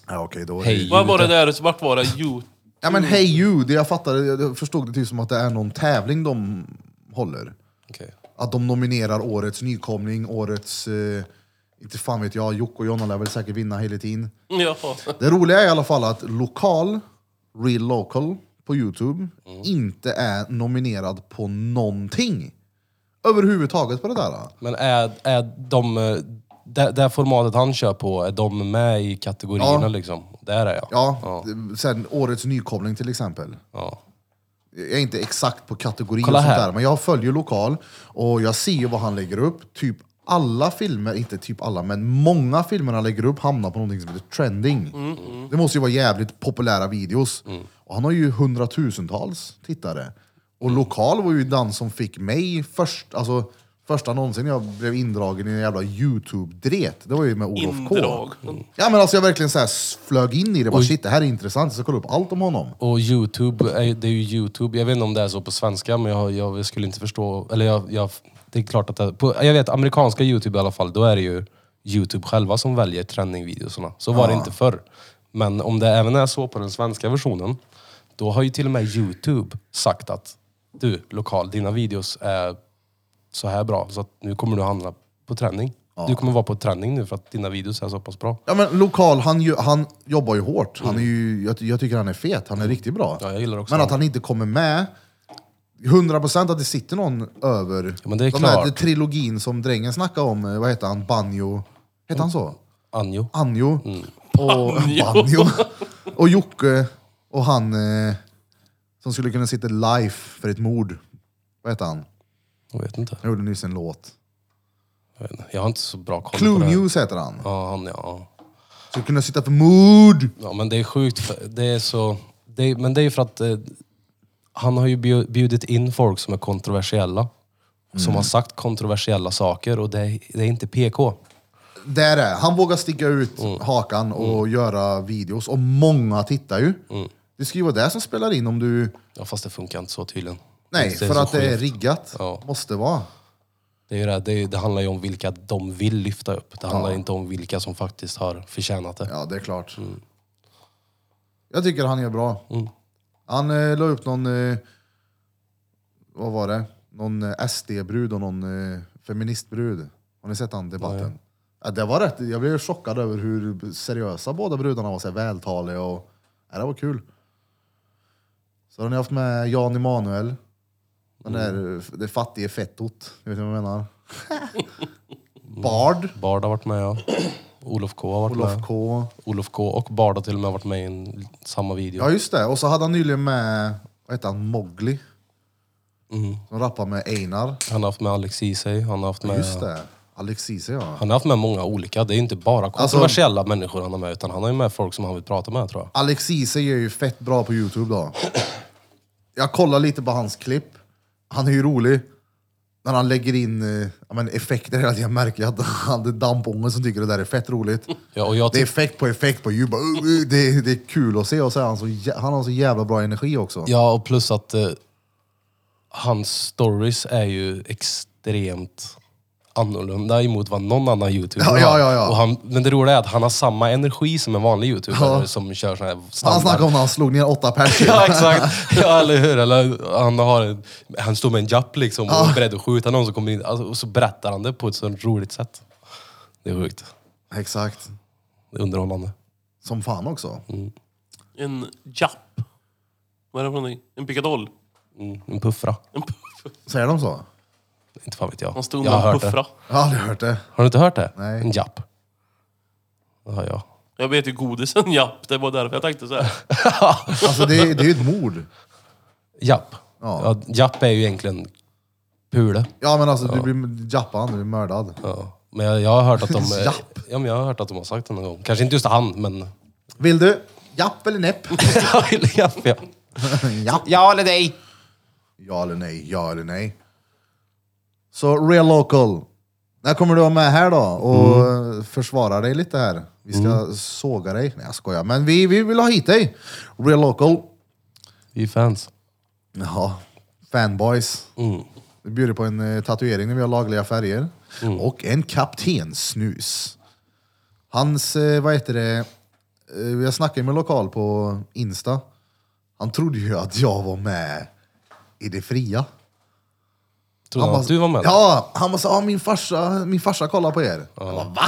S1: Ja, okej, då är
S3: Hey
S1: det-
S3: You.
S2: Vad var det där? Vart var det? Jo,
S1: Ja men Hey You, det jag fattade, jag förstod det typ som att det är någon tävling de håller.
S3: Okej.
S1: Att de nominerar årets nykomling, årets... Eh, inte fan vet jag, Jocke och Jonna lär väl säkert vinna hela tiden.
S2: ja.
S1: Det roliga är i alla fall att lokal, real local, på Youtube inte är nominerad på någonting. Överhuvudtaget på det där.
S3: Men är, är de... eh, Det, det här formatet han kör på, är de med i kategorierna
S1: Ja.
S3: liksom? Där är jag.
S1: Ja,
S3: Ja.
S1: sen årets nykomling till exempel.
S3: ja.
S1: Jag är inte exakt på kategori
S3: Kolla
S1: och sånt
S3: här.
S1: där, men jag följer lokal och jag ser ju vad han lägger upp. Typ alla filmer, inte typ alla, men många filmer han lägger upp hamnar på någonting som heter trending.
S3: Mm,
S1: Det måste ju vara jävligt populära videos. Och han har ju hundratusentals tittare.
S3: Mm.
S1: Och lokal var ju den som fick mig först, alltså första någonsin jag blev indragen i en jävla YouTube-dret. Det var ju med Olof K.
S2: Indrag.
S1: Ja men alltså jag verkligen så här flög in i det. Bara, shit, det här är intressant. Jag ska kolla upp allt om honom.
S3: Och Youtube, är, det är ju Youtube. Jag vet inte om det är så på svenska, men jag, jag skulle inte förstå. Eller jag, jag, det är klart att det, på, Jag vet, amerikanska Youtube i alla fall, då är det ju Youtube själva som väljer trendingvideorna. Så var det inte förr. Men om det även är så på den svenska versionen, då har ju till och med Youtube sagt att du, lokal, dina videos är så här bra, så att nu kommer du handla på trending. Du kommer vara på trending nu för att dina videos är så pass bra.
S1: Ja men lokal, han, ju, han jobbar ju hårt. Han är ju, jag, ty- jag tycker han är fet, han är riktigt bra.
S3: Ja, jag gillar också
S1: men att
S3: honom.
S1: han inte kommer med, 100% att det sitter någon över
S3: men det är
S1: de
S3: klart.
S1: här trilogin som drängen snackade om, eh, vad heter han, Banjo? Heter han så?
S3: Anjo.
S1: Anjo.
S3: Mm.
S1: Och,
S2: Banjo.
S1: Banjo. och Jocke och han eh, som skulle kunna sitta life för ett mord. Vad heter han?
S3: Jag vet inte.
S1: Han gjorde nyss en låt.
S3: Jag, vet inte. jag har inte så bra koll på
S1: Clue
S3: det. här.
S1: News heter han.
S3: Ja, han ja.
S1: Skulle kunna sitta för mord.
S3: Ja, men det är sjukt. för- Det är så, det är, men det är ju för att eh, han har ju bju- bjudit in folk som är kontroversiella.
S1: Mm.
S3: Som har sagt kontroversiella saker och det är, det är inte PK.
S1: Det är det. Han vågar sticka ut
S3: Mm.
S1: hakan och göra videos. Och många tittar ju.
S3: Mm.
S1: Det ska ju vara det som spelar in om du...
S3: Ja, fast det funkar inte så tydligen.
S1: Nej,
S3: är
S1: för
S3: så
S1: att det är
S3: skevt.
S1: riggat.
S3: Ja.
S1: Måste vara.
S3: Det, är ju det, det, är- det handlar ju om vilka de vill lyfta upp. Det handlar inte om vilka som faktiskt har förtjänat det.
S1: Ja, det är klart. Jag tycker han gör bra. Han eh, la upp någon... Eh, vad var det? Någon eh, SD-brud och någon eh, feministbrud. Har ni sett den debatten? Ja, det var rätt. Jag blev chockad över hur seriösa båda brudarna var. Så här, vältaliga och... Ja, det var kul. Så har ni haft med Jan Emanuel. Den där, eh, det fattige fettot. Ni vet vad jag menar? Bard.
S3: Bard har varit med, ja. Olof K har varit
S1: Olof
S3: med.
S1: K.
S3: Olof K och Bard har till och med varit med i en, samma video.
S1: Ja just det, och så hade han nyligen med, vad heter han, Mowgli.
S3: Mm.
S1: Som rappar med Einar.
S3: Han har haft med Alex Ceesay, han har haft med...
S1: Just det, Alexis ja.
S3: Han har haft med många olika. Det är inte bara
S1: Alltså-
S3: kontroversiella människor han har med, utan han har ju med folk som han vill prata med tror jag.
S1: Alexis är ju fett bra på Youtube då. Jag kollar lite på hans klipp. Han är ju rolig. När han lägger in eh, ja, men effekter hela tiden. Jag märker att han det är dampången som tycker det där är fett roligt.
S3: Ja, och jag
S1: Det är
S3: ty-
S1: effekt på effekt på Youtube. Uh, uh, Det, det är kul att se och så är han, så, jä- han har så jävla bra energi också.
S3: ja och plus att eh, hans stories är ju extremt annorlunda emot vad någon annan youtuber
S1: Ja,
S3: har.
S1: ja, ja, ja.
S3: Och han, men det roliga är att han har samma energi som en vanlig youtuber
S1: Ja.
S3: som kör sån här
S1: Han snackade
S3: standard.
S1: om när han slog ner åtta pers.
S3: Ja exakt, ja, eller hur? Eller, han, har en, han står med en japp liksom och är beredd att skjuta någon som kommer in. Alltså, och så berättar han det på ett så roligt sätt. Det är sjukt.
S1: Exakt.
S3: Det är underhållande.
S1: Som fan också.
S2: En japp. Vad är det för någonting? En pickadoll?
S3: Mm, en puffra.
S2: En puff.
S1: Säger de så?
S3: Inte fan vet jag.
S2: Han stod
S3: jag
S2: med
S3: har
S2: en
S3: hört
S2: puffra.
S3: det.
S1: Jag har aldrig hört det.
S3: Har du inte hört det?
S1: Nej.
S3: En japp. Det har jag.
S2: Jag vet ju godisen japp. Det var därför jag tänkte så här.
S1: Alltså det, är- det är ju ett mord.
S3: Japp.
S1: Ja.
S3: Ja, japp är ju egentligen pule.
S1: Ja men alltså du blir jappad, du blir mördad.
S3: Ja. Men jag, jag har hört att de...
S1: Japp.
S3: Ja, men jag har hört att de har sagt det någon gång. Kanske inte just han, men...
S1: Vill du? Japp eller näpp?
S3: Jag vill japp, ja.
S1: japp.
S3: ja eller nej?
S1: Ja eller nej, ja eller nej. Så real local. När kommer du vara med här då och försvara dig lite här? Vi ska såga dig. Nej jag skojar, men vi, vi vill ha hit dig. Real local.
S3: Vi är fans.
S1: Ja, fanboys.
S3: Mm.
S1: Vi bjuder på en eh, tatuering när vi har lagliga färger.
S3: Mm.
S1: Och en kaptensnus. Hans, eh, vad heter det, eh, jag snackade med en lokal på Insta. Han trodde ju att jag var med i det fria.
S3: Trodde han
S1: bara-
S3: att du var med?
S1: Ja, han bara sa, ah, min farsa, min farsa kollar på er. Jag bara, va?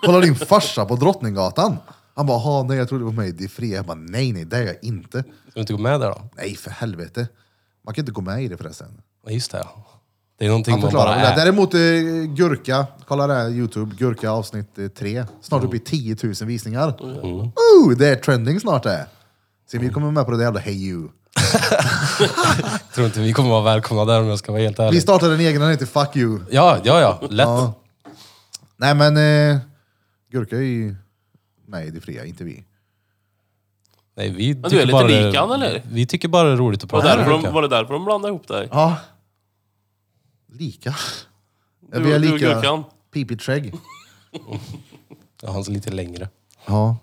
S1: Kollar din farsa på Drottninggatan? Han bara, "Ha, nej jag trodde det var mig i det fria. Jag bara, nej nej det är jag inte.
S3: Ska du inte gå med där då?
S1: Nej för helvete. Man kan inte gå med i det förresten.
S3: Ja, just det. Det är någonting
S1: Han
S3: man bara
S1: förklarar väl det.
S3: är.
S1: Däremot eh, Gurka, kolla det här Youtube, Gurka avsnitt 3.
S3: Mm.
S1: Snart uppe i 10 000 visningar.
S2: Mm.
S1: Oh, det är trending snart det. Se vi kommer med på det där jävla Hey You.
S3: Tror inte vi kommer vara välkomna där om jag ska vara helt ärlig.
S1: Vi startar en egen, den heter Fuck You.
S3: Ja, ja, ja. Lätt.
S1: Ja. Nej men, eh, Gurka är ju med i det fria, inte vi.
S3: Nej, vi
S2: är
S3: tycker
S2: lite
S3: bara
S2: lik han, eller?
S3: Vi tycker bara det är roligt att
S2: Var,
S3: prata
S2: det därför
S3: med
S2: de,
S3: Gurka.
S2: var det därför de blandade ihop dig?
S1: Ja. Lika. Ja,
S2: Du-
S1: vi är
S2: du och
S1: lika
S2: Gurkan.
S1: pipiträgg.
S3: Ja, han är lite längre.
S1: Ja.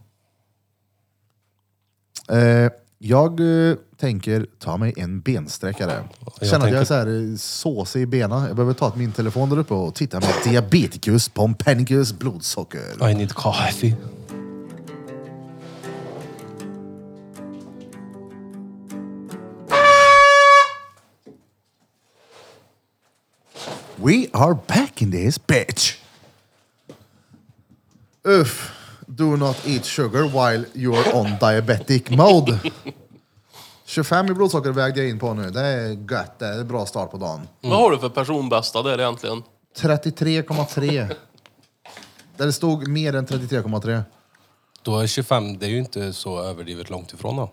S1: Eh, jag eh, tänker ta mig en bensträckare.
S3: jag
S1: Jag känner att jag
S3: tänker-
S1: är så här eh, såsig i benen. Jag behöver ta min telefon där uppe och titta med diabeticus, pompenicus, blodsocker.
S3: I need coffee.
S1: We are back in this bitch! Uff. Do not eat sugar while you are on diabetic mode. 25 i blodsocker vägde jag in på nu. Det är gött. Det är en bra start på dagen.
S2: Vad har du för personbästa där egentligen?
S1: 33,3. Där det stod mer än 33,3.
S3: Då är 25, det är ju inte så överdrivet långt ifrån då.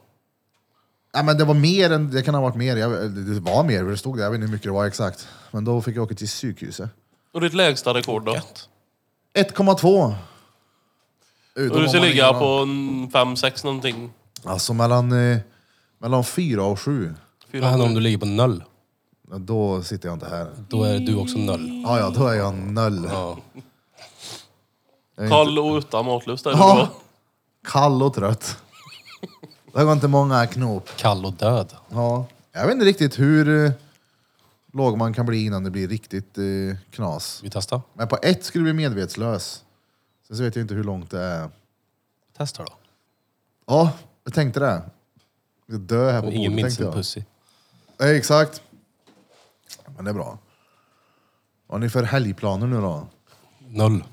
S1: Nej men det var mer än, det kan ha varit mer. Jag, det var mer, för det stod där. Jag vet inte hur mycket det var exakt. Men då fick jag åka till sjukhuset.
S2: Och ditt lägsta rekord då?
S1: 1,2. Utom
S2: Och du
S1: om
S2: ska
S1: man
S2: ligga
S1: ringer någon.
S2: på en 5-6 någonting?
S1: Alltså mellan, eh, mellan 4 och 7.
S3: Vad händer om du ligger på noll?
S1: Då sitter jag inte här.
S3: Då är du också noll.
S1: Ja, ja, då är jag noll.
S3: Ja.
S1: Jag är inte-
S2: Kall och utan matlust är det
S1: Ja.
S2: då?
S1: Kall och trött. Det går inte många knop.
S3: Kall och död.
S1: Ja. Jag vet inte riktigt hur eh, låg man kan bli innan det blir riktigt eh, knas.
S3: Vi testar.
S1: Men på ett skulle bli medvetslös. Sen så vet jag inte hur långt det är.
S3: Vi testar då.
S1: Ja, jag tänkte det. Jag dö här på
S3: Ingen
S1: bordet tänkte
S3: minns sin
S1: jag.
S3: pussy.
S1: Nej, exakt. Men det är bra. Vad har ni för helgplaner nu då?
S3: Noll.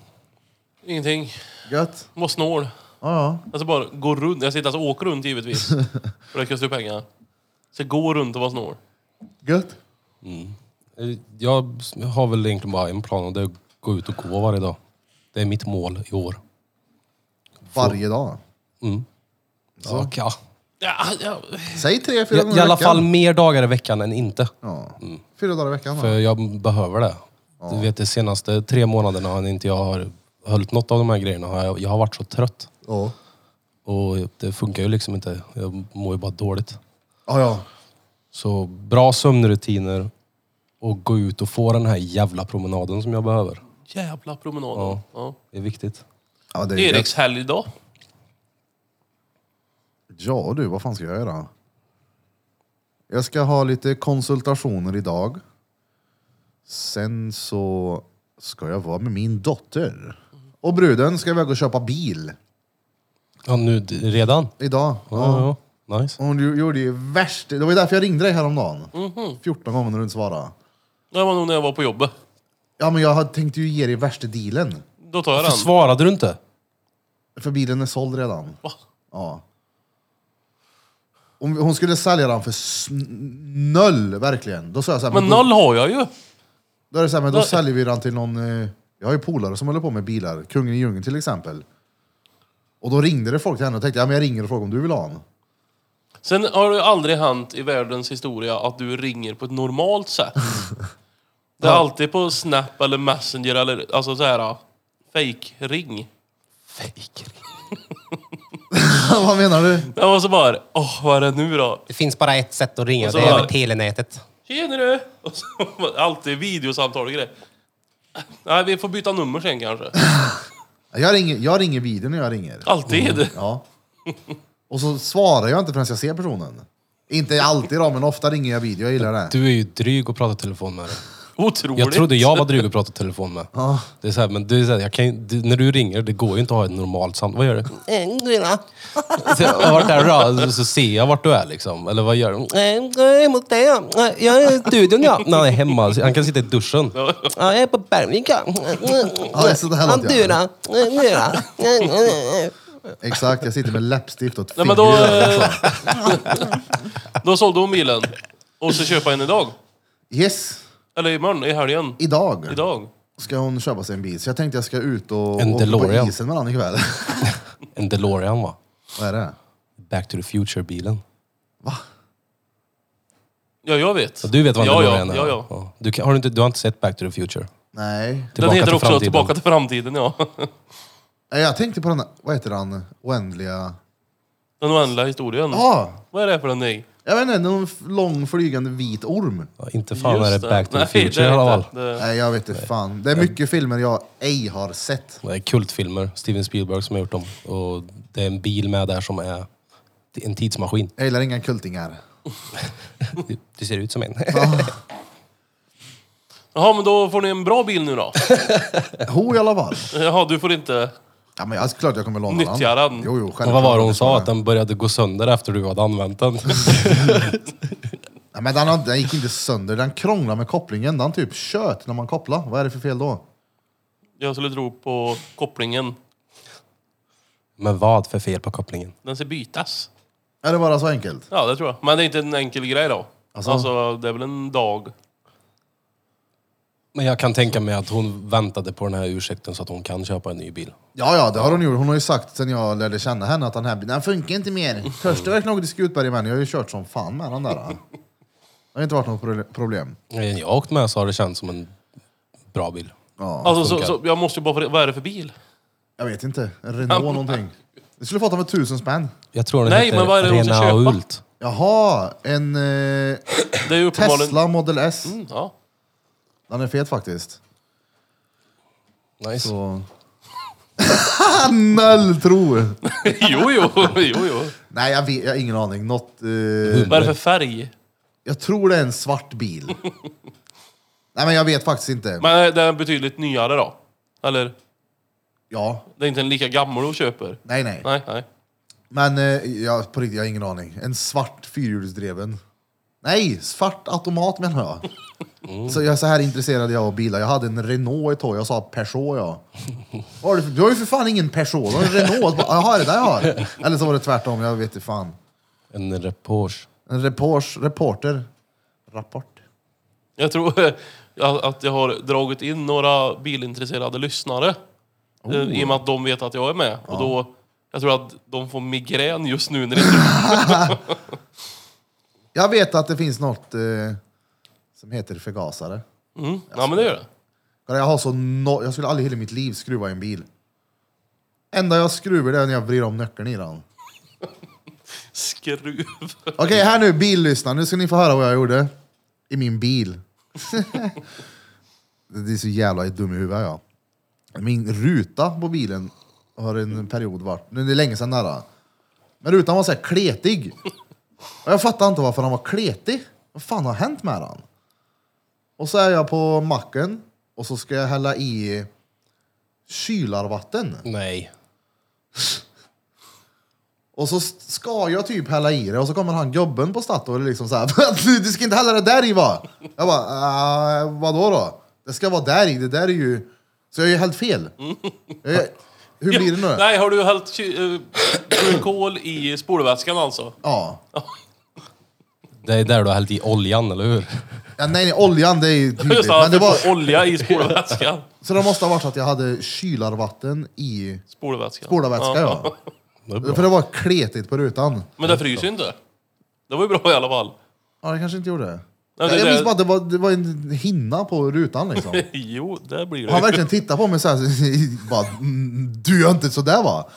S2: Ingenting.
S1: Gött?
S2: Var snål.
S1: Ja, ja.
S2: Alltså bara gå runt. Jag sitter alltså och åker runt givetvis. För det kostar ju pengar. Så gå runt och vara snål.
S1: Gött?
S3: Eh, Jag har väl egentligen bara en plan och det är att gå ut och gå varje dag. Det är mitt mål i år.
S1: Varje dag.
S3: Mm. Ja, ja.
S2: Ja, ja.
S1: Säg tre, fyra
S3: I,
S1: gånger
S3: I alla
S1: veckan.
S3: fall mer dagar i veckan än inte.
S1: Ja. Fyra dagar i veckan. va?
S3: För jag behöver det. Du vet de senaste tre månaderna har inte jag har hållit något av de här grejerna. har Jag, jag har varit så trött.
S1: Ja.
S3: Och det funkar ju liksom inte. Jag mår ju bara dåligt.
S1: Ja, ja.
S3: Så bra sömnrutiner och gå ut och få den här jävla promenaden som jag behöver.
S2: Jävla promenaden.
S3: Ja.
S2: Ja.
S3: Det är viktigt.
S1: ja det är ju
S2: Eriks helg idag.
S1: gött. Ja du, vad fan ska jag göra? Jag ska ha lite konsultationer idag. Sen så ska jag vara med min dotter. Och bruden ska iväg och köpa bil
S3: Ja, nu d- redan?
S1: idag.
S3: Ja, ja. Nice.
S1: Och Hon ju- gjorde ju värst. Det var ju därför jag ringde dig häromdagen. 14 gånger när du inte svarade.
S2: Det var nog när jag var på jobbet.
S1: Ja men jag hade- tänkte ju ge dig värsta dealen.
S2: Då tar jag
S3: Varför
S2: den.
S3: svarade du inte?
S1: För bilen är såld redan.
S2: Va?
S1: Ja. Om hon skulle sälja den för s- noll, verkligen. Då sa jag så här,
S2: Men
S1: då,
S2: noll har jag ju.
S1: då är det så här, men då
S2: Noll.
S1: säljer vi den till någon... eh, Jag har ju polare som håller på med bilar, kungen i djungeln till exempel. Och då ringde det folk till henne och tänkte, ja men jag ringer och frågar om du vill ha en.
S2: Sen har det ju aldrig hänt i världens historia att du ringer på ett normalt sätt. Det är alltid på Snap eller Messenger eller alltså så här fake ring.
S3: Fake.
S1: Vad menar du?
S2: Jag var så bara, åh vad är det nu då?
S3: Det finns bara ett sätt att ringa
S2: Och så det är över var-
S3: telenätet.
S2: Tjena du! Och så var det alltid videosamtal och grejer. Nej, vi får byta nummer sen kanske.
S1: Jag ringer, jag ringer videon när jag ringer.
S2: Alltid!
S3: Mm.
S1: Ja. Och så svarar jag inte förrän jag ser personen. Inte alltid då, men ofta ringer jag video, jag gillar det.
S3: Du är ju dryg att prata telefon med. dig.
S2: Otroligt!
S3: Jag trodde jag var dryg att prata telefon med.
S1: Ja.
S3: Det är så här, men det är så här, jag kan, ju- du, när du ringer, det går ju inte att ha ett normalt samtal. Vad gör du? Så jag har varit där då, så- så ser jag vart du är liksom. Eller vad gör du? Jag är Eh, mot dig. Eh, Jag är i studion ja. Nej, han är hemma. Han kan sitta i duschen.
S4: Ja, jag är på Bergvika.
S1: Ja, det är sådär låter jag.
S4: Andura.
S3: Eh,
S4: Andura.
S1: Exakt, jag sitter med läppstift och ett
S2: Nej,
S1: finger.
S2: men då,
S1: där också.
S3: alltså.
S2: då sålde hon bilen. Och så köpa en idag.
S1: Yes,
S2: Eller imorgon, i helgen.
S1: idag.
S2: Idag.
S1: ska hon köpa sig en bil. Så jag tänkte jag ska ut och
S3: En
S1: åka
S3: DeLorean.
S1: på isen med honom ikväll.
S3: En DeLorean va?
S1: Vad är det?
S3: Back to the future-bilen.
S2: Ja, jag vet.
S3: Så Du vet vad en
S2: ja,
S3: DeLorean
S2: ja,
S3: är?
S2: Ja, ja.
S3: Du, kan, har du, inte, du har inte sett Back to the future?
S1: Nej.
S2: Den heter
S3: till
S2: också
S3: framtiden.
S2: Tillbaka till framtiden, ja.
S1: Nej, Jag tänkte på den, vad heter han, oändliga...
S2: Den oändliga historien.
S1: Ja!
S2: Vad är det för en nej?
S1: Jag vet inte, någon f- lång flygande vit orm.
S3: Ja, inte fan
S2: Just
S3: är det Back to the
S2: Nej,
S3: Future i
S2: det är
S3: alla
S2: inte.
S3: fall.
S2: Det-
S1: Nej, jag vet inte fan. Det är mycket filmer jag ej har sett.
S3: Det är kultfilmer. Steven Spielberg som har gjort dem. Och det är en bil med där som är en tidsmaskin.
S1: Jag gillar inga kultingar.
S3: Det- Det ser ut som en.
S2: Jaha, men då får ni en bra bil nu då.
S1: Ho i alla fall.
S2: Jaha, du får inte...
S1: Ja, men jag, alltså, klart jag kommer låna
S2: Nyttjar den?
S1: Jo, jo,
S3: Och vad var det hon sa? Att den började gå sönder efter du hade använt den.
S1: Nej, men den, har- den gick inte sönder, den krånglade med kopplingen. Den typ tjöt när man kopplade. Vad är det för fel då?
S2: Jag skulle tro på kopplingen.
S3: Men vad för fel på kopplingen?
S2: Den ska bytas.
S1: Är det bara så enkelt?
S2: Ja, det tror jag. Men det är inte en enkel grej då.
S1: Alltså?
S2: Alltså, det är väl en dag.
S3: Men jag kan tänka mig att hon väntade på den här ursäkten så att hon kan köpa en ny bil.
S1: Ja, ja, det har hon gjort. Hon har ju sagt sen jag lärde känna henne att den här den funkar inte mer. Törs du verkligen åka till Skutberg med Jag har ju kört som fan med den där. Det har inte varit något pro- problem.
S3: När jag har åkt med så har det känts som en bra bil.
S1: Ja,
S2: Alltså, så,
S3: funkar.
S2: så, jag måste ju bara få Vad är det för bil?
S1: jag vet inte. En Renault någonting. Du skulle fått den för tusen spänn.
S3: Jag tror den
S2: Nej,
S3: heter
S2: men vad är det hon ska
S3: Renault
S2: köpa?
S3: Ult.
S1: Jaha, en eh,
S2: Det är ju uppenbarligen...
S1: Tesla Model S.
S2: Mm, ja.
S1: Den är fet faktiskt.
S3: Nice.
S1: Så... Nolltro!
S2: jo, jo, jo, jo.
S1: Nej, jag, vet, jag har ingen aning. Något, eh,
S2: Vad är det för färg?
S1: jag tror det är en svart bil. Nej, men jag vet faktiskt inte.
S2: Men är den är betydligt nyare då? Eller?
S1: Ja,
S2: Det är inte en lika gammal du köper?
S1: nej, nej.
S2: Nej, nej.
S1: Men eh, jag, på riktigt, jag har ingen aning. En svart fyrhjulsdriven. Nej, svart automat menar jag. Så jag är så här intresserad jag av bilar. Jag hade en Renault ett tag, jag sa Peugeot ja. Vad har Du, för- du har ju för fan ingen Peugeot, du har en Renault. Så bara, Jaha, är det där jag har? Eller så var det tvärtom, jag vet inte fan.
S3: En Repors.
S1: En reports, reporter. Rapport.
S2: Jag tror eh, jag- att jag har dragit in några bilintresserade lyssnare. Eh,
S1: Oh.
S2: I och med att de vet att jag är med. Och då, jag tror att de får migrän just nu när det inte...
S1: Jag vet att det finns något eh, som heter förgasare.
S2: Mm. Ja, men det gör det.
S1: Kolla, Jag, har så no- jag skulle aldrig i hela mitt liv skruva i en bil. Enda jag skruvar det är när jag vrider om nyckeln i den.
S2: Skruv.
S1: Okej, här nu billyssnare. Nu ska ni få höra vad jag gjorde. I min bil. det är så jävla dum i huvudet jag. Min ruta på bilen har en period varit, nu är det länge sedan nära. Men rutan var så här kletig. Och jag fattar inte varför den var kletig. Vad fan har hänt med den? Och så är jag på macken och så ska jag hälla i kylarvatten.
S3: Nej.
S1: Och så ska jag typ hälla i det och så kommer han gubben på Statoil liksom så här. "Du- Du ska inte hälla det där i va? Jag bara, "Ah, vadå då? Det ska vara där i, det där är ju... Så jag har ju hällt fel. Jag, hur blir det nu?
S2: Nej, har du hällt ky- eh, kol i spolvätskan alltså?
S1: Ja.
S3: Det är där du har hällt i oljan, eller hur?
S1: ja. Nej, nej, oljan det är ju tydligt.
S2: Just det,
S1: Men det var,
S2: olja i spolvätskan.
S1: så det måste ha varit så att jag hade kylarvatten i
S2: Spolvätskan.
S1: spolarvätska ja.
S3: Det är bra.
S1: För det var kletigt på rutan.
S2: Men det fryser ju inte. Det var ju bra i alla fall.
S1: Ja, det kanske inte gjorde det.
S2: Ja, det-
S1: jag minns
S2: det-
S1: bara att det var, det var en hinna på rutan liksom.
S2: Jo, det blir
S1: Och han
S2: det.
S1: verkligen tittar på mig såhär, bara, "Mm, du gör inte sådär va?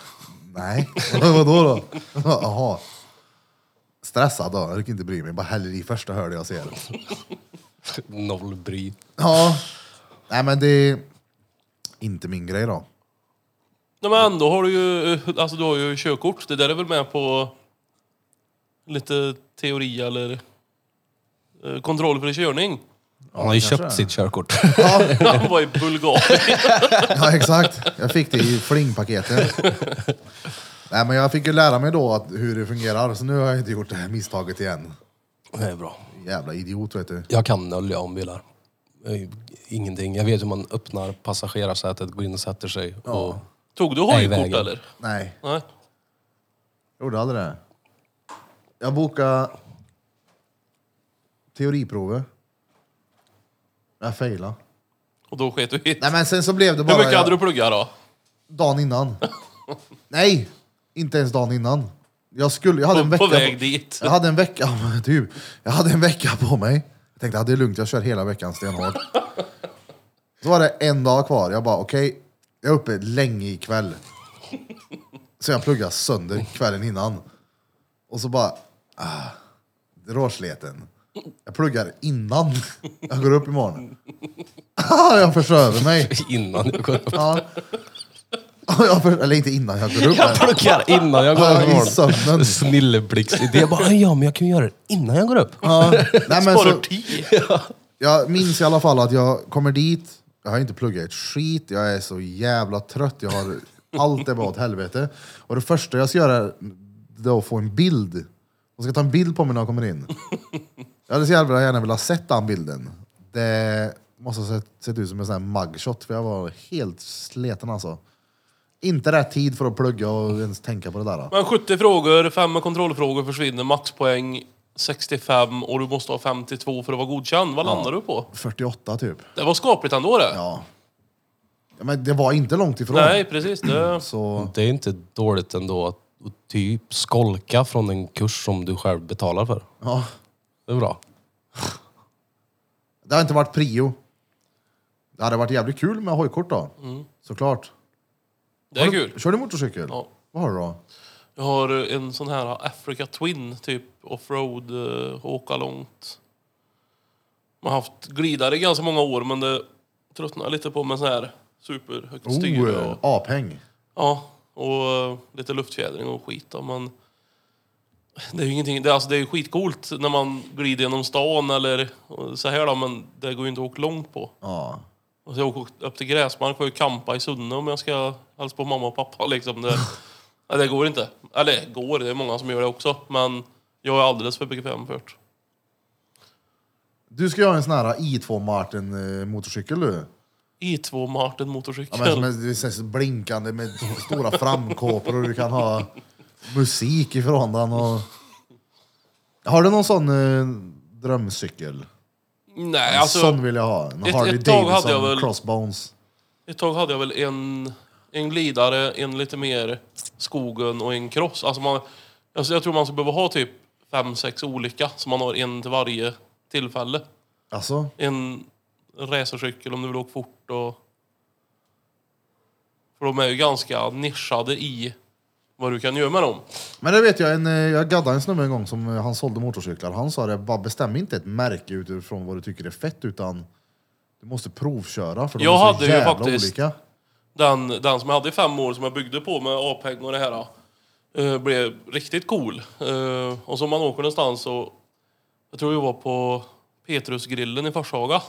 S1: Nej, vadå då? Jaha. Stressad då, jag orkar inte bry mig, bara häller i första hörde jag ser.
S3: Noll bry.
S1: Ja, nej men det är inte min grej då.
S2: Nej, men ändå har du ju, eh, alltså, du har ju körkort. Det där är väl med på lite teori eller eh, kontroll för körning.
S3: Han har ju
S1: kanske
S3: köpt
S1: det.
S3: sitt körkort.
S1: Ja,
S2: Han var i Bulgarien.
S1: ja exakt, jag fick det i flingpaketet. Nej men jag fick ju lära mig då att hur det fungerar, så nu har jag inte gjort det här misstaget igen.
S3: Det är bra.
S1: Jävla idiot vet du.
S3: Jag kan noll jag om bilar. Eh, Ingenting. Jag vet hur man öppnar passagerarsätet, går in och sätter sig. Och
S2: Tog du
S3: Nej,
S2: hojkort
S3: vägen.
S2: eller?
S1: Nej,
S2: Nej.
S1: jag gjorde aldrig det. Jag bokade teoriprovet. Jag failade.
S2: Och då sket du hit.
S1: Nej men sen så blev det bara...
S2: Hur mycket
S1: jag-
S2: hade du pluggat då?
S1: Dagen innan. Nej! Inte ens dagen innan. Jag skulle... Jag hade en
S2: På,
S1: vecka...
S2: på väg dit.
S1: Jag hade en vecka... ja, men Typ. Jag hade en vecka på mig. Jag tänkte att det är lugnt, jag kör hela veckan stenhårt. Så var det en dag kvar. Jag bara, okej, jag är uppe länge ikväll. Så jag pluggade sönder kvällen innan. Och så bara, ah, råsleten. Jag pluggar innan jag går upp imorgon. Ah, jag försöver mig.
S3: Innan jag går upp.
S1: Ja. Och jag för, eller inte innan jag går upp.
S3: Jag
S1: men-
S3: pluggade innan jag går
S1: Ja,
S3: upp
S1: i
S3: imorgon.
S1: sömnen.
S3: Snilleblixtidé. Jag bara, ja men jag kan ju göra det innan jag går upp.
S1: Ja. Nej, men
S2: Sparar
S1: så,
S2: tid.
S1: jag minns i alla fall att jag kommer dit, jag har inte pluggat ett skit, jag är så jävla trött, jag har, allt är bara åt helvete. Och det första jag ska göra är då att få en bild. De ska ta en bild på mig när jag kommer in. Jag hade så jävla gärna velat sett den bilden. Det måste ha sett, sett ut som en sån här mugshot, för jag var helt sleten alltså. Inte rätt tid för att plugga och ens tänka på det där.
S2: Men 70 frågor, 5 kontrollfrågor försvinner, maxpoäng 65 och du måste ha 52 för att vara godkänd. Vad landar du på?
S1: 48 typ.
S2: Det var skapligt ändå det.
S1: Ja. Ja, Men det var inte långt ifrån.
S2: Nej, precis. Det...
S1: Så,
S3: Det är inte dåligt ändå att att typ skolka från en kurs som du själv betalar för.
S1: ja.
S3: Det är bra.
S1: Det har inte varit prio. Det hade varit jävligt kul med hojkort då. Såklart.
S2: Mm. Det är
S1: Har du-
S2: kul.
S1: Kör du motorcykel?
S2: Ja.
S1: Vad har du då?
S2: Jag har en sån här Africa Twin, typ offroad, eh, åka långt. Man har haft glidare i ganska många år, men det tröttnar jag lite på med sån här superhögt
S1: Oh,
S2: styre.
S1: eh,
S2: Och,
S1: apäng.
S2: ja, och eh, lite luftfjädring och skit. då, Men det är ju ingenting, det, är- alltså, det är ju skitcoolt när man glider genom stan eller eh, så här då, men det går ju inte att åka långt på.
S1: Ja.
S2: Och så Alltså, jag åker upp till gräsmark för att kampa i Sunne om jag ska hälsa på mamma och pappa. Liksom. Det, nej, det går inte. Eller går, det är många som gör det också. Men jag är alldeles för bekväm för det.
S1: Du ska ju ha en sån här i2 Martin eh, motorcykel du.
S2: I2 Martin motorcykel.
S1: Ja, men, som är, det är så här blinkande med stora framkåpor och du kan ha musik ifrån den. Och... Har du någon sån eh, drömcykel?
S2: nej,
S1: Alltså,
S2: alltså,
S1: sån vill jag ha. En
S2: ett
S1: Harley
S2: tag hade
S1: Davidson
S2: jag väl-
S1: crossbones.
S2: ett tag hade jag väl en, en glidare, en lite mer skogen och en cross. Alltså man, alltså jag tror man ska behöva ha typ fem, sex olika. Så man har en till varje tillfälle.
S1: Alltså,
S2: en racercykel om du vill åka fort och... För de är ju ganska nischade i vad du kan göra med dem.
S1: Men det vet jag, en, eh, jag gaddade en snubbe en gång som eh, han sålde motorcyklar. Han sa det, bara bestäm inte ett märke utifrån vad du tycker är fett utan du måste provköra för de
S2: Jag
S1: är så
S2: hade ju
S1: jävla
S2: faktiskt-
S1: olika.
S2: Den, den som jag hade i fem år som jag byggde på med A-peng och det här eh, blev riktigt cool. Eh, och så man åker någonstans så... Jag tror jag var på Petrusgrillen i Forshaga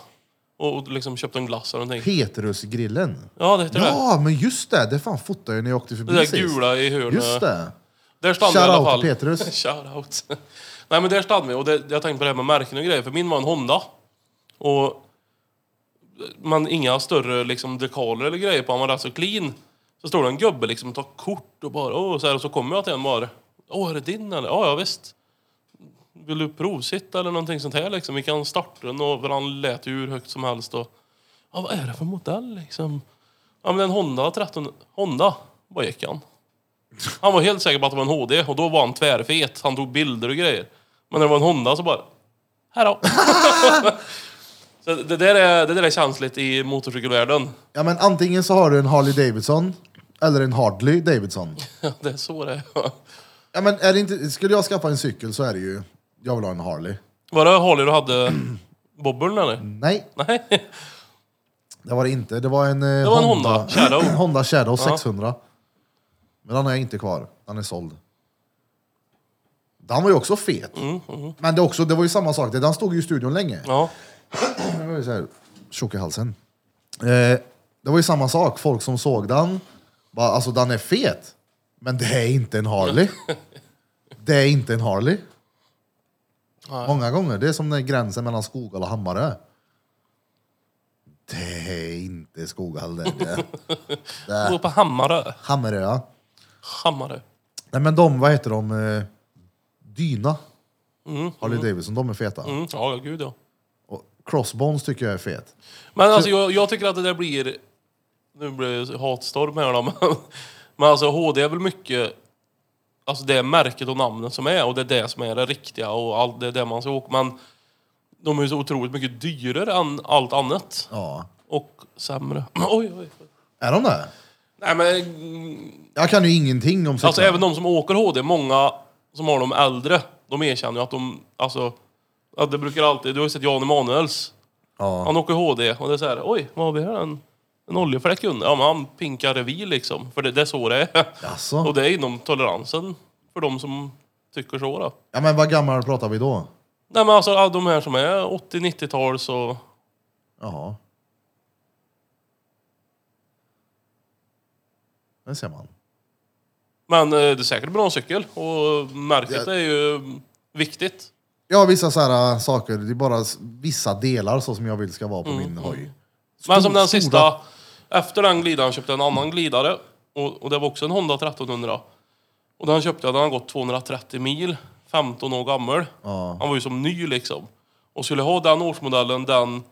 S2: och, och liksom köpte en glass eller någonting.
S1: Petrusgrillen.
S2: Ja, det heter det.
S1: Ja, men just det! Det fan fotade jag när jag åkte förbi
S2: Det där
S1: sist.
S2: gula i hörnet.
S1: Just det!
S2: Där stann vi i alla
S1: Shoutout
S2: fall.
S1: till Petrus.
S2: Shoutout. Nej men där stann vi och det, jag tänkte på det här med märken och grejer, för min var en Honda. Och man inga större liksom dekaler eller grejer på, han var rätt så clean. Så står det en gubbe liksom och tar kort och bara åh så här, och så kommer jag till en bara. Åh är det din eller? Ja ja visst. Vill du provsitta eller någonting sånt här liksom? Vi kan starta den och han lät ju hur högt som helst och ja vad är det för modell liksom? Ja men en Honda 13, Honda, vad gick han? Han var helt säker på att det var en HD och då var han tvärfet. Han tog bilder och grejer. Men när det var en Honda så bara... Här då. så det där, är, det där är känsligt i motorcykelvärlden.
S1: Ja, men antingen så har du en Harley Davidson eller en Harley Davidson.
S2: det är så det är.
S1: Ja, men är det inte, skulle jag skaffa en cykel så är det ju, jag vill ha en Harley.
S2: Var det Harley du hade bobbeln eller?
S1: Nej,
S2: Nej.
S1: det var det inte. Det var en, eh,
S2: var en Honda Shadow.
S1: Honda Shadow
S2: Ja.
S1: 600. Men den har jag inte kvar. Den är såld. Den var ju också fet.
S2: Mm,
S1: Men det, är också, det var ju samma sak. Den stod ju i studion länge.
S2: Ja.
S1: Jag var ju så här, tjock i halsen. Eh, det var ju samma sak. Folk som såg den, bara, alltså den är fet. Men det är inte en Harley. det är inte en Harley.
S2: Nej.
S1: Många gånger. Det är som när gränsen mellan Skoghall och Hammarö. Det är inte Skoghall. Det är det. Det
S2: Gå
S1: är
S2: på Hammarö.
S1: Hammarö.
S2: Hammarö.
S1: Nej men de, vad heter de? Eh, Dyna. Harley Davidson, de är feta.
S2: Mm, ja, gud ja.
S1: Och Crossbones tycker jag är fet.
S2: Men alltså jag, jag tycker att det där blir... Nu blir det hatstorm här då. Men, men alltså HD är väl mycket... Alltså det är märket och namnet som är och det är det som är det riktiga och allt det är det man ska åka. Men de är ju så otroligt mycket dyrare än allt annat.
S1: Ja.
S2: och sämre. oj, oj. oj.
S1: Är de det?
S2: Nej men, mm,
S1: Jag kan ju ingenting om cyklar.
S2: alltså även de som åker HD, många som har de äldre, de erkänner ju att de, alltså, att det brukar alltid, du har ju sett Jan Emanuels,
S1: ja.
S2: han åker HD och det är så här, oj, vad har vi här? En, en oljefläck under? Ja men han pinkar revir liksom, för det, det är så det är.
S1: Jaså?
S2: Och det är inom toleransen för de som tycker så då.
S1: ja, men vad gammal pratar vi då?
S2: Nej men alltså ja, de här som är 80-90-tals och...
S1: Jaha. Där ser man.
S2: Men eh, det är säkert bra cykel och märket är ju mm, viktigt.
S1: Ja, vissa så här äh, saker. Det är bara s- vissa delar så som jag vill ska vara på min hoj.
S2: Men som den
S1: stora-
S2: sista, efter den glidaren köpte jag en annan glidare. Och, och det var också en Honda 1300. Och den köpte jag, den har gått 230 mil, 15 år gammal.
S1: Ja.
S2: Han var ju som ny liksom. Och skulle ha den årsmodellen, den,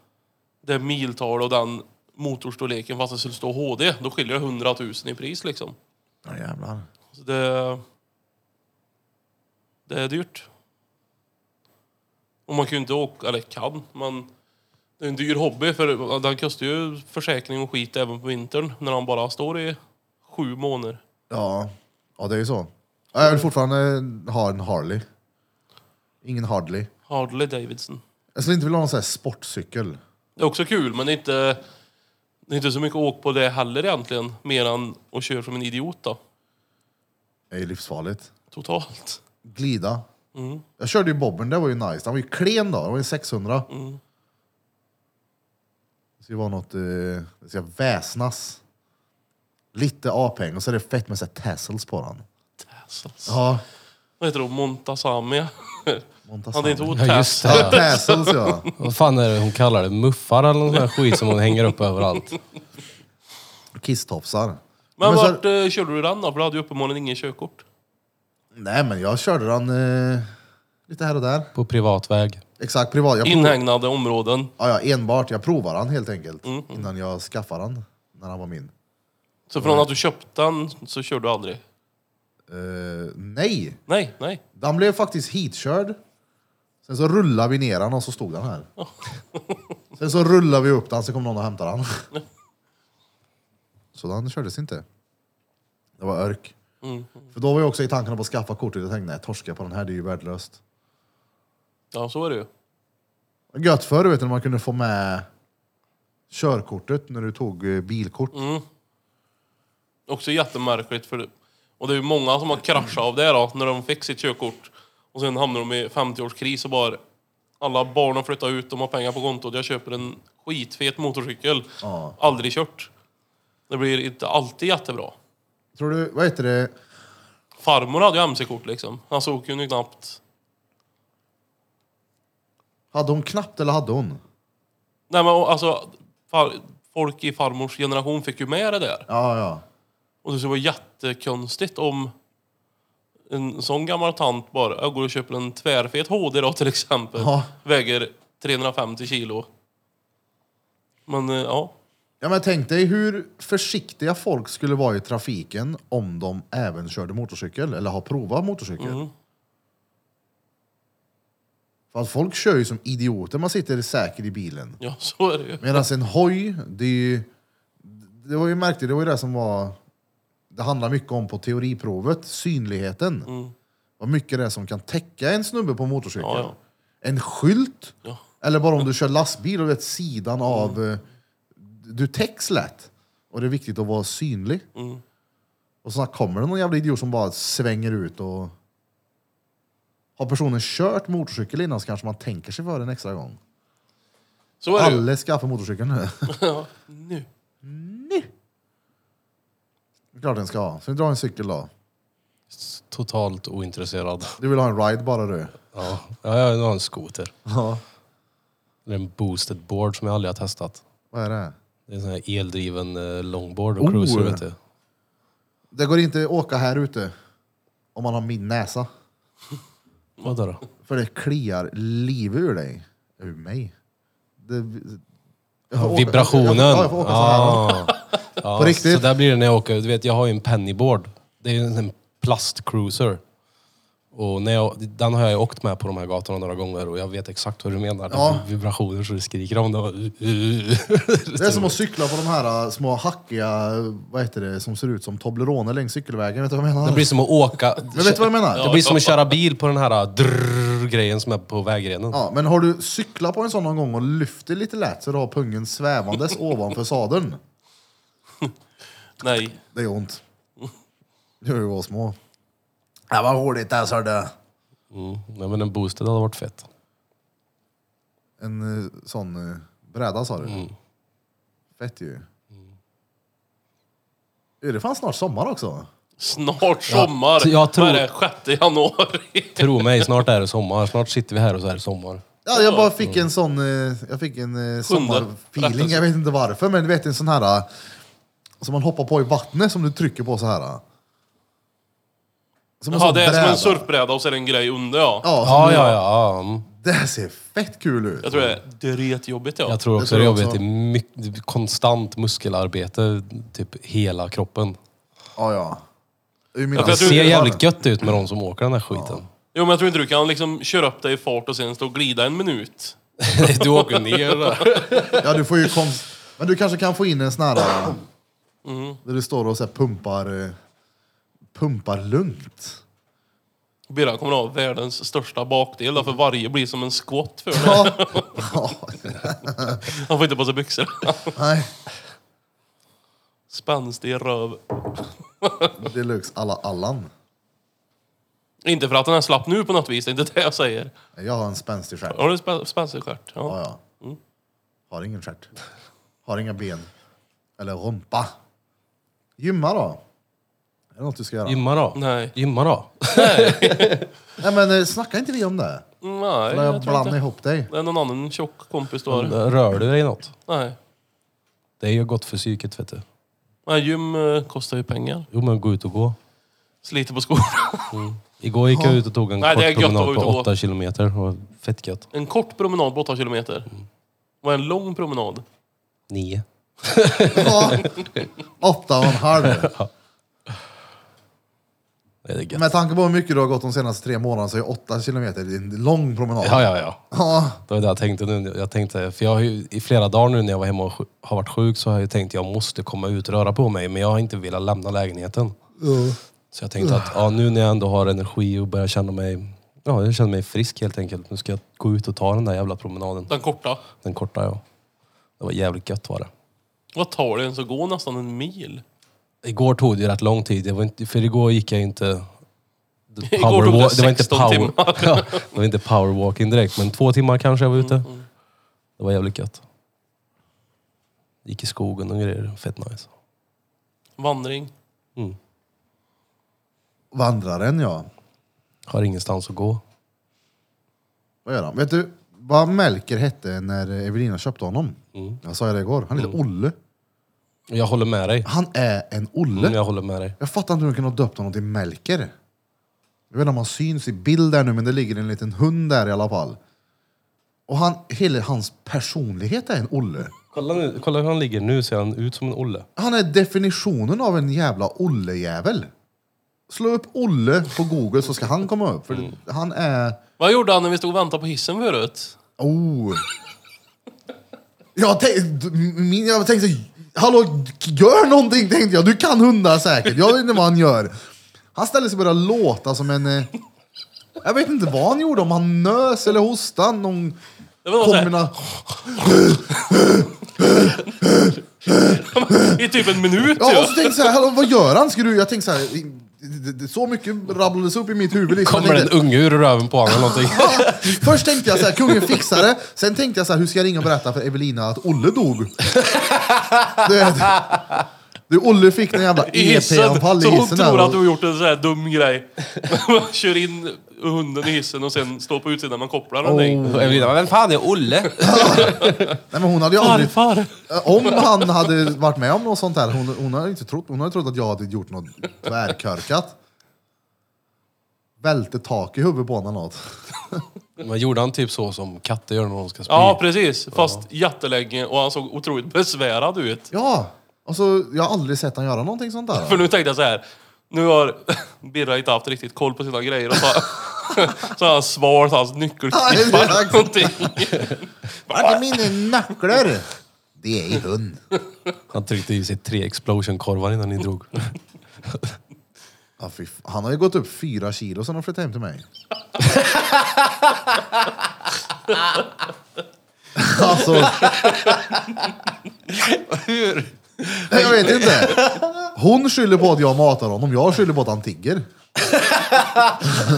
S2: det miltal och den motorstorleken fast det skulle stå HD, då skiljer det 100 000 i pris liksom.
S1: Ja, jävlar.
S2: Så det... Det är dyrt. Och man kan ju inte åka, eller kan, men det är en dyr hobby för den kostar ju försäkring och skit även på vintern när han bara står i sju månader.
S1: Ja. ja, det är ju så. Ja, Jag vill fortfarande ha en Harley. Ingen Hardley.
S2: Harley Davidson.
S1: Jag skulle inte vilja ha någon sån här sportcykel.
S2: Det är också kul men det är inte, det är inte så mycket åk på det heller egentligen. Mer än att köra som en idiot då.
S1: Det är ju livsfarligt.
S2: Totalt.
S1: Glida. Jag körde ju bobbern, det var ju nice. Den var ju klen då, det var ju 600. Det ska vara något, eh, det ska väsnas. Lite A-peng och så är det fett med så här tassels på den.
S2: Tassels.
S1: Ja,
S2: Vad heter de? Montasami? Han är inte
S1: Montazami.
S2: ord
S3: Ja, just
S2: tass.
S1: Ja,
S3: det.
S1: tassels ja.
S3: Vad fan är det hon kallar det? Muffar eller någon sån här skit som hon hänger upp överallt?
S1: Kisstofsar. så-
S2: Men, vart eh, körde du den då? För du hade ju uppenbarligen ingen körkort.
S1: Nej men jag körde den eh, lite här och där.
S3: På privat väg.
S1: Exakt, privat. Jag prov...
S2: Inhägnade områden.
S1: ja, ja, enbart, jag provade den helt enkelt.
S2: Mm.
S1: Innan jag skaffade den, när han var min.
S2: Så från att du köpte den så kör du aldrig?
S1: Eh, nej,
S2: Nej, nej.
S1: Den blev faktiskt hitkörd. Sen så rullade vi ner den och så stod den här. Sen så rullade vi upp den, så kom någon och hämtade den. Så den kördes inte. Det var örk. För då var jag också i tankarna på att skaffa kortet. Jag tänkte, nej torska jag på den här, det är ju värdelöst.
S2: Ja, så är det ju.
S1: Gött förr vet du, när man kunde få med körkortet när du tog eh, bilkort.
S2: Också jättemärkligt för det. Och det är ju många som har kraschat av det då, när de fick sitt körkort. Och sen hamnar de i 50-årskris och bara... Alla barn har flyttat ut, de har pengar på kontot, jag köper en skitfet motorcykel.
S1: Ja.
S2: Aldrig kört. Det blir inte alltid jättebra.
S1: Tror du, vad heter det?
S2: Farmor hade ju MC-kort liksom. Han såg ju knappt...
S1: Hade hon knappt eller hade hon?
S2: Nej men alltså, far, folk i farmors generation fick ju med det där.
S1: Ja, ja.
S2: Och det skulle vara jättekonstigt om en sån gammal tant bara, jag går och köper en tvärfet HD då till exempel.
S1: Ja.
S2: Väger 350 kilo. Men eh, ja,
S1: Ja, men tänk dig hur försiktiga folk skulle vara i trafiken om de även körde motorcykel eller har provat motorcykel.
S2: Mm.
S1: För att folk kör ju som idioter, man sitter säker i bilen.
S2: ja så är det ju.
S1: Medan en hoj, det är ju... Det var ju märkligt, det var ju det som var... Det handlar mycket om på teoriprovet, synligheten. Vad mycket det är som kan täcka en snubbe på motorcykel.
S2: Mm. Ja, ja.
S1: En skylt,
S2: Ja.
S1: eller bara om du kör lastbil och vet sidan av... eh, Du täcks lätt. Och det är viktigt att vara synlig.
S2: Mm.
S1: Och så kommer det någon jävla idiot som bara svänger ut och... Har personen kört motorcykel innan så kanske man tänker sig för en extra gång.
S2: Så är det ju.
S1: Alla skaffar motorcykel nu.
S2: Ja, nu.
S1: Det är klart den ska ha. Så vi drar en cykel då.
S3: Totalt ointresserad.
S1: Du vill ha en ride bara du.
S3: Ja, ja jag har en skoter.
S1: Ja.
S3: Eller en boosted board som jag aldrig har testat.
S1: Vad är det?
S3: Det är en sån här eldriven eh, longboard och
S1: Oh.
S3: cruiser vet du.
S1: Det går inte att åka här ute om man har min näsa.
S3: Vadå då?
S1: För det kliar livet ur dig. Ur mig. Det, jag får åka-
S3: Vibrationen.
S1: Jag, jag, jag får åka så här.
S3: Ah. Ja,
S1: På riktigt?
S3: Så där blir det när jag åker. Du vet, jag har ju en pennyboard. Det är en sån här plastcruiser. Och när jag, den har jag ju åkt med på de här gatorna några gånger och jag vet exakt hur du menar. Det
S1: Ja.
S3: är vibrationer så du skriker om det.
S1: Det är som att cykla på de här äh, små hackiga, vad heter det, som ser ut som Toblerone längs cykelvägen. Vet du vad jag menar?
S3: Det blir som att åka...
S1: Men vet du vad jag menar?
S3: Det blir som att köra bil på den här drrrr-grejen som är på vägrenen.
S1: Ja, men har du cyklat på en sån någon gång och lyfter lite lätt så du har pungen svävandes ovanför sadeln?
S2: Nej.
S1: Det är ont. Det gör ju var små. Det var roligt alltså det.
S3: Mm. Nej, men en boosted hade varit fett.
S1: En eh, sån eh, bräda sa du?
S2: Mm.
S1: Fett ju. Är det fan snart sommar också?
S2: Snart sommar.
S3: t- jag tror-
S2: Vad är det? 6 januari.
S3: Tro mig, snart är det sommar. Snart sitter vi här och så är det sommar.
S1: Ja, jag bara
S2: Mm.
S1: fick en sån, eh, jag fick en eh, sommarfeeling, jag vet inte varför, men du vet en sån här eh, som man hoppar på i vattnet som du trycker på så här. eh. Som
S2: Ja,
S1: sån
S2: det är som
S1: bräda.
S2: en surfbräda och så är det en grej under ja.
S1: Ja, som
S3: Ja,
S1: du-
S3: ja, ja. mm.
S1: Det här ser fett kul ut.
S2: Jag tror det är dretjobbigt ja.
S3: Jag tror också
S1: tror
S3: det
S1: jag
S3: jobbet
S1: också.
S3: är mycket, konstant muskelarbete, typ hela kroppen.
S1: Ja, ja. Det är ju mina-
S2: Ja, för
S3: Det
S2: jag tror-
S3: ser jävligt gött ut med de som åker den här skiten.
S2: Jo men jag tror inte du kan liksom köra upp dig i fart och sen stå och glida en minut.
S3: du åker ner där.
S1: Ja, du får ju konst... Men du kanske kan få in en sån här... eh,
S2: Mm.
S1: Där du står och så här pumpar... eh, Pumpar lugnt.
S2: Birra kommer ha världens största bakdel därför varje blir som en squat för dig.
S1: Ja. ja.
S2: Han får inte på sig byxor.
S1: Nej,
S2: Spänstig röv.
S1: deluxe alla Allan.
S2: Inte för att den är slapp nu på något vis, det är inte det jag säger.
S1: Jag har en spänstig stjärt. Ja,
S2: Har du spä- spänstig stjärt? Ja.
S1: ja. Har ingen stjärt. Har inga ben. Eller rumpa. Gymma då? Är det något du ska göra?
S3: Gymma då.
S2: Nej.
S3: Gymma då.
S1: Nej men eh, snackar inte vi om det?
S2: Nej,
S1: När jag
S2: jag tror
S1: blandar
S2: inte.
S1: ihop dig.
S2: Det är någon annan tjock kompis du har.
S3: Rör du dig något?
S2: Nej.
S3: Det är ju gott för psyket vet du.
S2: Nej, gym eh, kostar ju pengar.
S3: Jo men gå ut och gå.
S2: Sliter på skorna.
S3: Igår gick jag ut och tog en
S2: Nej, det är
S3: kort
S2: gött att vara
S3: promenad
S2: ute och
S3: på
S2: gå.
S3: 8 kilometer. Det var fett gött.
S2: En kort promenad på 8 kilometer. Och en lång promenad.
S3: Nio.
S1: Ja. Åtta och en halv.
S3: Det är gött.
S1: Med tanke på hur mycket du har gått de senaste tre månaderna så är 8 kilometer en lång promenad.
S3: Ja, ja, ja.
S1: Ja,
S3: Det var det jag tänkte nu. Jag tänkte, för jag har ju, i flera dagar nu när jag var hemma och sj- har varit sjuk så har jag ju tänkt jag måste komma ut och röra på mig. Men jag har inte velat lämna lägenheten. Så jag tänkte att ja, nu när jag ändå har energi och börjar känna mig, ja, jag känner mig frisk helt enkelt. Nu ska jag gå ut och ta den där jävla promenaden.
S2: Den korta.
S3: Den korta ja. Det var jävligt gött var det.
S2: Vad tar det ens att gå nästan en mil?
S3: Igår tog det ju rätt lång tid. Det var inte, för igår gick jag inte...
S2: Igår tog det
S3: wa-
S2: 16 timmar.
S3: ja, det var inte powerwalking direkt, men två timmar kanske jag var ute. Det var jävligt gött. Gick i skogen och grejer. Fett nice.
S2: Vandring.
S1: vandraren ja.
S3: Har ingenstans att gå.
S1: Vad gör han? Vet du vad Melker hette när Evelina köpte honom? Jag sa ju det igår. Han heter Olle.
S3: Jag håller med dig.
S1: Han är en Olle.
S3: Mm, jag håller med dig.
S1: Jag fattar inte hur de kunde ha döpt honom till Melker. Jag vet inte om han syns i bild där nu, men det ligger en liten hund där i alla fall. Och han, hela hans personlighet är en Olle.
S3: Kolla, nu, kolla hur han ligger nu. Ser han ut som en Olle?
S1: Han är definitionen av en jävla Olle-jävel. Slå upp Olle på google så ska han komma upp. För han är...
S2: Vad gjorde han när vi stod och väntade på hissen förut?
S1: Oh. Jag tänkte, min, jag tänkte, hallå, gör någonting tänkte jag. Du kan hundar säkert. Jag vet inte vad han gör. Han ställer sig och börjar låta som en... eh, Jag vet inte vad han gjorde, om han nös eller hostade. Någon
S2: Det var någon så här-
S1: kombina...
S2: I typ en minut
S1: Ja,
S2: ju.
S1: och så tänkte jag så här, hallå, vad gör han? Ska du, jag tänkte så här, i- det- det- så mycket rabblades upp i mitt huvud. Liksom.
S3: Kommer
S1: Jag
S3: det Oh. en
S1: tänkte-
S3: unge ur röven på honom eller någonting?
S1: Ja, Först tänkte jag så här, kungen fixar det. Sen tänkte jag så här, hur ska jag ringa och berätta för Evelina att Olle dog? Du, vet, du Olle fick en jävla
S2: I hissen.
S1: EP-anfall E i
S2: Så hon
S1: hissen.
S2: tror
S1: där.
S2: att du har gjort en sån här dum grej. Man Kör in hunden i hissen och sen står på utsidan man kopplar någonting.
S3: Och Evelina, "Men vem fan är Olle?
S1: Nej, men hon hade ju aldrig, Eh,
S2: Farfar!
S1: om han hade varit med om något sånt här, hon, hon hade inte trott, hon hade trott att jag hade gjort något tvärkörkat. Välte tak i huvudet på honom eller något.
S3: Men gjorde han typ så som katter gör när de ska spy?
S2: Ja, precis. Fast jättelänge och han såg otroligt besvärad ut.
S1: Ja, alltså, jag har aldrig sett han göra någonting sånt där.
S2: För nu tänkte jag så här. Nu har Birra inte haft riktigt koll på sina grejer och så har Så har han svalt hans nyckelknippar.
S1: Ja, exakt.
S2: någonting.
S1: Vart är mina nycklar? Det är i hund.
S3: Han tryckte i sig tre explosion-korvar innan ni drog.
S1: Ja, fy f- han har ju gått upp fyra kilo sen han flyttade hem till mig. alltså...
S3: Hur?
S1: Nej, jag vet inte. Hon skyller på att jag matar honom, jag skyller på att han tigger.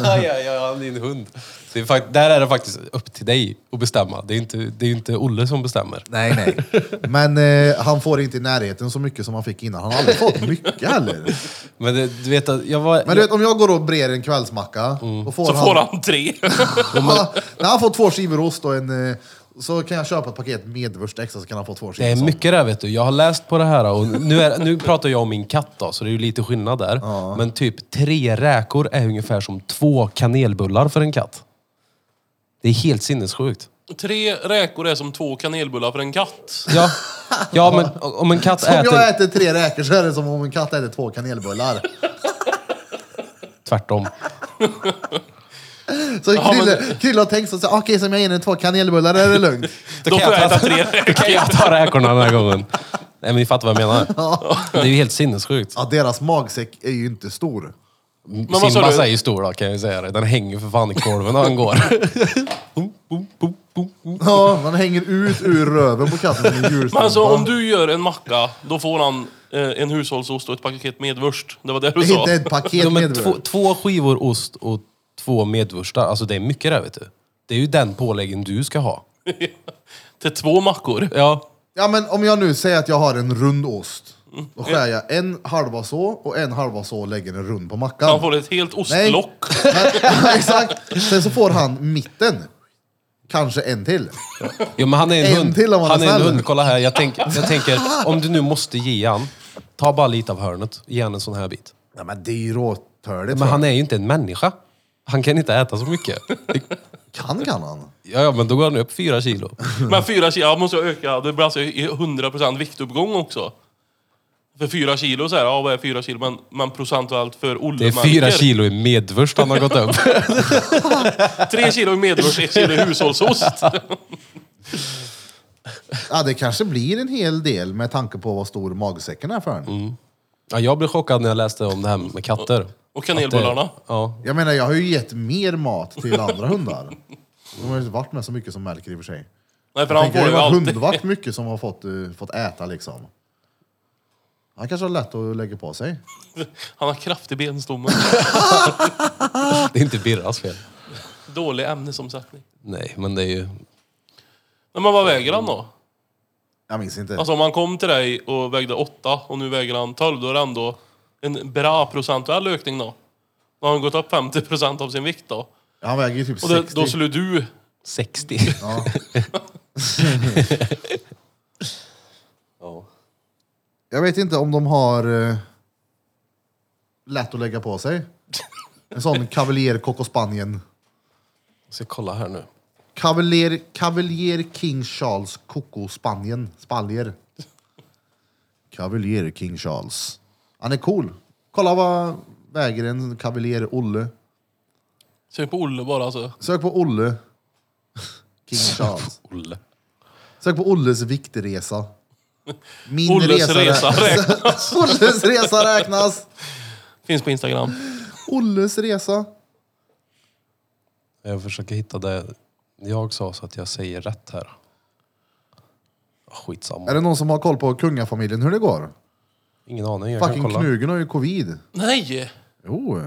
S3: Ja, ja, ja, han är din hund. Det är fakt- där är det faktiskt upp till dig att bestämma. Det är ju inte, det är ju inte Olle som bestämmer.
S1: Nej, nej. Men eh, han får inte i närheten så mycket som han fick innan. Han har aldrig fått mycket heller.
S3: Men det, du vet att jag var...
S1: Men du vet, om jag går och brer en kvällsmacka, då får
S2: Så
S1: han...
S2: får han tre.
S1: Ja, när han får två skivor ost och en... eh, Så kan jag köpa ett paket medvurst extra så kan han få två skivor
S3: Det är
S1: sånt.
S3: mycket där vet du. Jag har läst på det här och nu, är, nu pratar jag om min katt då, så det är ju lite skillnad där. Men typ tre räkor är ungefär som två kanelbullar för en katt. Det är helt sinnessjukt.
S2: Tre räkor är som två kanelbullar för en katt.
S3: Ja, ja men om en katt
S1: Om
S3: äter...
S1: jag äter tre räkor så är det som om en katt äter två kanelbullar.
S3: Tvärtom.
S1: Så
S2: Ja, men-
S1: Krille, Krille har tänkt så så, okej som jag ger henne två kanelbullar är det lugnt.
S2: Då får jag äta tre räkor.
S3: Kan jag ta räkorna den här gången? Nej men ni fattar vad jag menar. Det är ju helt sinnessjukt.
S1: Ja, deras magsäck är ju inte stor.
S2: vad sa
S3: Simba
S2: du?
S3: är ju stor då, kan jag ju säga det. Den hänger för fan i korven när han går. Boom, boom, boom, boom, boom.
S1: Ja, man hänger ut ur röven på katten som en
S2: Men
S1: djurstumpa.
S2: alltså om du gör en macka, då får han eh, en hushållsost och ett paket medvurst. Det var det du
S1: Det är
S2: sa.
S1: inte ett
S3: Ja,
S1: paket
S3: men
S1: medvurst.
S3: två, två skivor ost och två medvurstar. Alltså det är mycket där vet du. Det är ju den påläggen du ska ha.
S2: Till två mackor.
S3: Ja.
S1: Ja, men om jag nu säger att jag har en rund ost. Då skär jag en halva så och en halva så och lägger en rund på mackan.
S2: Han får ett helt ostlock.
S1: Men- Exakt. Sen så får han mitten. Kanske en till.
S3: Jo, men han är en,
S1: En
S3: hund.
S1: till om man
S3: han
S1: är
S3: är en
S1: snäll.
S3: hund. Kolla här, jag, tänk, jag tänker om du nu måste ge han, ta bara lite av hörnet. Ge han en sån här bit.
S1: Ja, men det är ju råtörligt.
S3: Men han är ju inte en människa. Han kan inte äta så mycket.
S1: Kan kan han?
S3: Ja, ja men då går han upp fyra kilo.
S2: Men fyra kilo, ja, måste jag öka. Det blir alltså i 100% viktuppgång också. För fyra kilo så här, ja vad är fyra kilo? Men, men procentuellt för Olle
S3: Det är
S2: märker-
S3: fyra kilo i medvurst han har gått upp.
S2: Tre kilo i medvurst, ett kilo i hushållsost.
S1: Ja, det kanske blir en hel del med tanke på vad stor magsäcken är för honom.
S2: Mm.
S3: Ja, jag blev chockad när jag läste om det här med katter.
S2: Och kanelbullarna.
S3: Ja.
S1: Jag menar, jag har ju gett mer mat till andra hundar. De har ju inte varit med så mycket som Melker i och för sig.
S2: Nej, för
S1: Jag
S2: han
S1: tänker,
S2: får
S1: det
S2: ju
S1: var
S2: alltid.
S1: hundvakt mycket som har fått, eh, fått äta liksom. Han kanske har lätt att lägga på sig.
S2: Han har kraftig benstomme.
S3: Det är inte Birras fel.
S2: Dålig ämnesomsättning.
S3: Nej, men det är ju...
S2: Nej, Men vad väger han då?
S1: Jag minns inte.
S2: Alltså om han kom till dig och vägde åtta och nu väger han 12, då är det ändå en bra procentuell ökning då. Då har han gått upp 50% av sin vikt då.
S1: Han väger ju typ
S2: Och det,
S1: 60.
S2: då skulle du...
S3: 60.
S1: Ja.
S3: Ja.
S1: Jag vet inte om de har eh, lätt att lägga på sig. En sån Cavalier Coco Spanien.
S3: Jag ska kolla här nu.
S1: Cavalier, Cavalier King Charles Coco Spanien. Spaljer. Cavalier King Charles. Han är cool. Kolla vad väger en Cavalier Olle.
S2: Sök på Olle bara alltså.
S1: Sök på Olle. King Charles.
S3: Olle.
S1: Sök på Olles viktresa. Min
S2: Olles resa
S1: rä-
S2: räknas.
S1: Olles resa räknas.
S2: Finns på Instagram.
S1: Olles resa.
S3: Jag försöker hitta det jag sa så att jag säger rätt här. Ah, Skitsamma.
S1: Är det någon som har koll på kungafamiljen hur det går?
S3: Ingen aning. Jag kan
S1: Fucking
S3: kolla.
S1: Knugen har ju covid.
S2: Nej!
S1: Jo.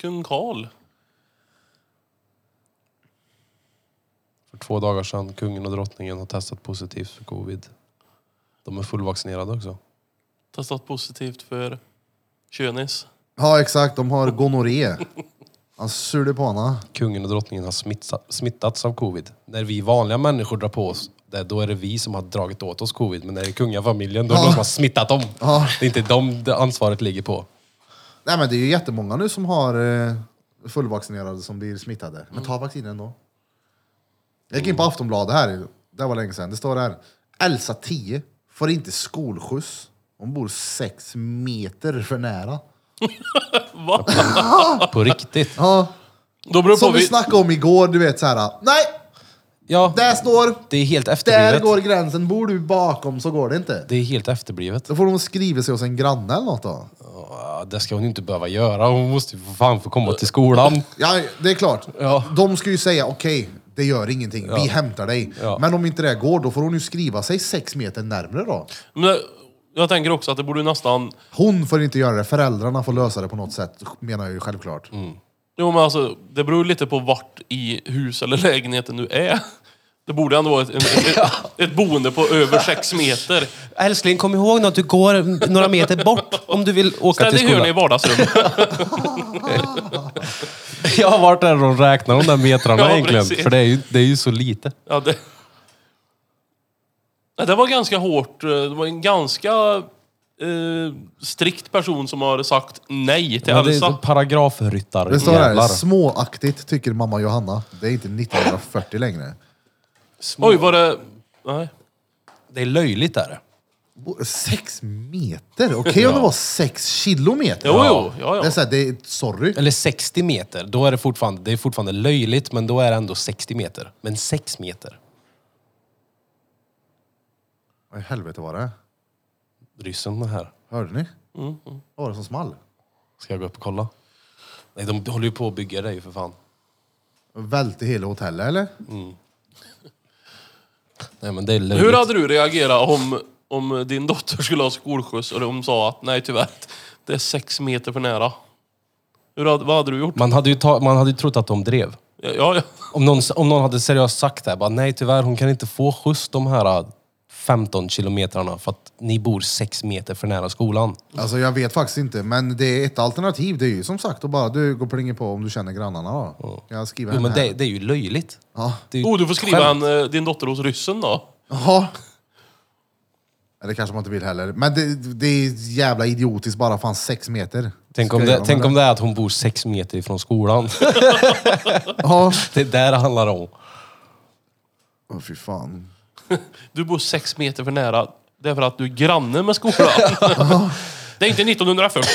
S2: Kung Karl.
S3: För två dagar sedan, kungen och drottningen har testat positivt för covid. De är fullvaccinerade också.
S2: Testat positivt för könis.
S1: Ja exakt, de har gonorré. Han surde på henne.
S3: Kungen och drottningen har smittsa- smittats av covid. När vi vanliga människor drar på oss det, då är det vi som har dragit åt oss covid. Men när det är kungafamiljen, då är det
S1: Ja.
S3: någon som har smittat dem.
S1: Ja.
S3: Det är inte dem det ansvaret ligger på.
S1: Nej men det är ju jättemånga nu som har eh, fullvaccinerade som blir smittade. Men ta vaccinen då. Jag gick in på Aftonbladet här, det var länge sedan. Det står här. Elsa 10 får inte skolskjuts. Hon bor sex meter för nära.
S2: Va?
S3: På riktigt.
S1: Ja,
S2: Då beror det på
S1: Som vi
S2: vi...
S1: snackade om igår, du vet såhär. Nej!
S3: Ja,
S1: Där står!
S3: det är helt
S1: Där går
S3: efterblivet.
S1: gränsen. Bor du bakom så går det inte.
S3: Det är helt efterblivet.
S1: Då får de skriva sig hos en granne eller något då.
S3: Ja, Det ska hon ju inte behöva göra. Hon måste ju för fan få komma till skolan.
S1: Ja, det är klart.
S3: Ja.
S1: De ska ju säga okej, det gör ingenting, vi hämtar dig.
S3: Ja.
S1: Men om inte det går, då får hon ju skriva sig sex meter närmre då.
S2: Men jag tänker också att det borde nästan...
S1: Hon får inte göra det, föräldrarna får lösa det på något sätt, menar jag ju självklart.
S2: Jo men alltså, det beror lite på vart i hus eller lägenheten du är. Det borde ändå vara ett, en, ett, ett boende på över sex meter.
S3: Älskling, kom ihåg nu att du går några meter bort om du vill åka
S2: Ställ
S3: till
S2: dig i hörnet i
S3: skolan.
S2: vardagsrummet.
S3: Jag har varit där och räknat de där metrarna
S2: Ja,
S3: egentligen.
S2: precis.
S3: För det är, ju, det är ju så lite.
S2: Ja, det... Nej, det var ganska hårt. Det var en ganska eh, strikt person som har sagt nej till
S3: Men det är
S2: Elsa.
S3: paragrafryttare.
S1: Det står här,
S3: jävlar.
S1: småaktigt tycker mamma Johanna. Det är inte 1940 längre.
S2: Oj, var det... Nej.
S3: Det är löjligt där.
S1: Bo- Sex meter? Okej om det var sex kilometer?
S2: Jo, jo. Ja,
S1: Det är
S2: ja.
S1: såhär, det är, sorry.
S3: Eller 60 meter. Då är det fortfarande, det är fortfarande löjligt, men då är det ändå 60 meter. Men 6 meter.
S1: Vad i helvete var det?
S3: Ryssen här.
S1: Hörde ni? Vad var det som small?
S3: Ska jag gå upp och kolla? Nej, de håller ju på att bygga det ju för fan.
S1: Välte hela hotellet eller?
S3: Nej, men det är löjligt.
S2: Hur hade du reagerat om, om din dotter skulle ha skolskjuts och de sa att nej tyvärr, det är sex meter för nära? Hur hade, vad hade du gjort?
S3: man, hade ju ta, man hade ju trott att de drev.
S2: Ja, ja.
S3: Om någon, om någon hade seriöst sagt det här, bara, nej tyvärr, hon kan inte få skjuts de här äh, 15 kilometrarna för att ni bor 6 meter för nära skolan.
S1: Alltså jag vet faktiskt inte, men det är ett alternativ. Det är ju som sagt att bara du går och plingar på om du känner grannarna då. Jag skriver
S3: Jo,
S1: hem
S3: men
S1: här.
S3: det, det är ju löjligt.
S1: Ja.
S3: Det är ju
S2: Oh, du får skriva
S3: skämt.
S2: en, eh, din dotter hos ryssen då.
S1: Jaha. Eller kanske man inte vill heller. Men det, det är jävla idiotiskt bara fan sex meter.
S3: Tänk om,
S1: Skrev
S3: det,
S1: de,
S3: tänk om
S1: eller?
S3: det är att hon bor 6 meter ifrån skolan.
S1: Ja.
S3: det är där det handlar om.
S1: Åh fy fan.
S2: Du bor sex meter för nära. Det är för att du är granne med skolan. det är inte 1940.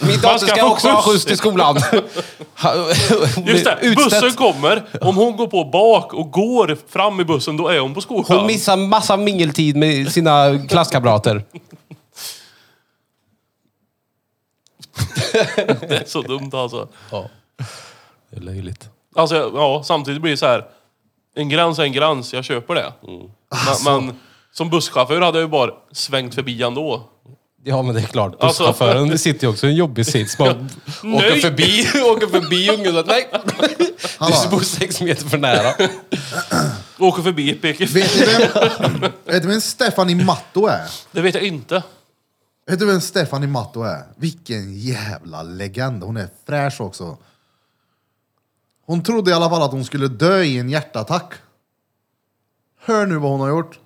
S3: Min
S2: Man
S3: dotter
S2: ska
S3: ska
S2: få
S3: också ha
S2: skjuts.
S3: skjuts till skolan.
S2: Just det,
S3: Utstött.
S2: bussen kommer. Om hon går på bak och går fram i bussen, då är hon på skolan.
S3: Hon missar massa mingeltid med sina klasskamrater.
S2: Det är så dumt alltså.
S3: Ja. Det är löjligt.
S2: Alltså, ja, samtidigt blir det så här. En gräns är en gräns, jag köper det. Men, men som busschaufför hade jag ju bara svängt förbi ändå.
S3: Ja, men det är klart.
S2: Alltså-
S3: Busschauffören sitter ju också i en jobbig sits. Man åker
S2: Nej.
S3: förbi, åker förbi ungen och nej, du bor sex meter för nära.
S2: Åker förbi, pekar
S1: Vet du vem, vet du vem Stefan i Matto är?
S2: Det vet jag inte.
S1: Vet du vem Stefan i Matto är? Vilken jävla legend. Hon är fräsch också. Hon trodde i alla fall att hon skulle dö i en hjärtattack. Hör nu vad hon har gjort.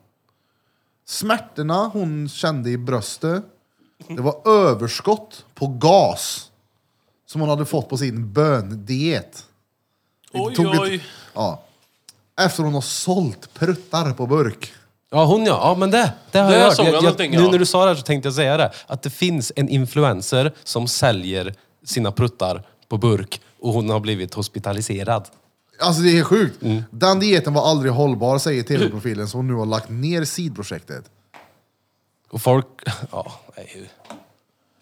S1: Smärtorna hon kände i bröstet, det var överskott på gas som hon hade fått på sin böndiet. Vi
S2: Oj,
S1: tog ett-
S2: oj.
S1: Ja. Efter hon har sålt pruttar på burk.
S3: Ja, hon ja. Ja, men det, det har
S2: Det
S3: jag hört.
S2: såg jag
S3: Jag, jag,
S2: någonting,
S3: nu
S2: ja.
S3: när du sa det här så tänkte jag säga det. Att det finns en influencer som säljer sina pruttar på burk och hon har blivit hospitaliserad.
S1: Alltså det är sjukt.
S2: Mm.
S1: Den dieten var aldrig hållbar säger tv-profilen som nu har lagt ner sidprojektet.
S3: Och folk... Ja, nej.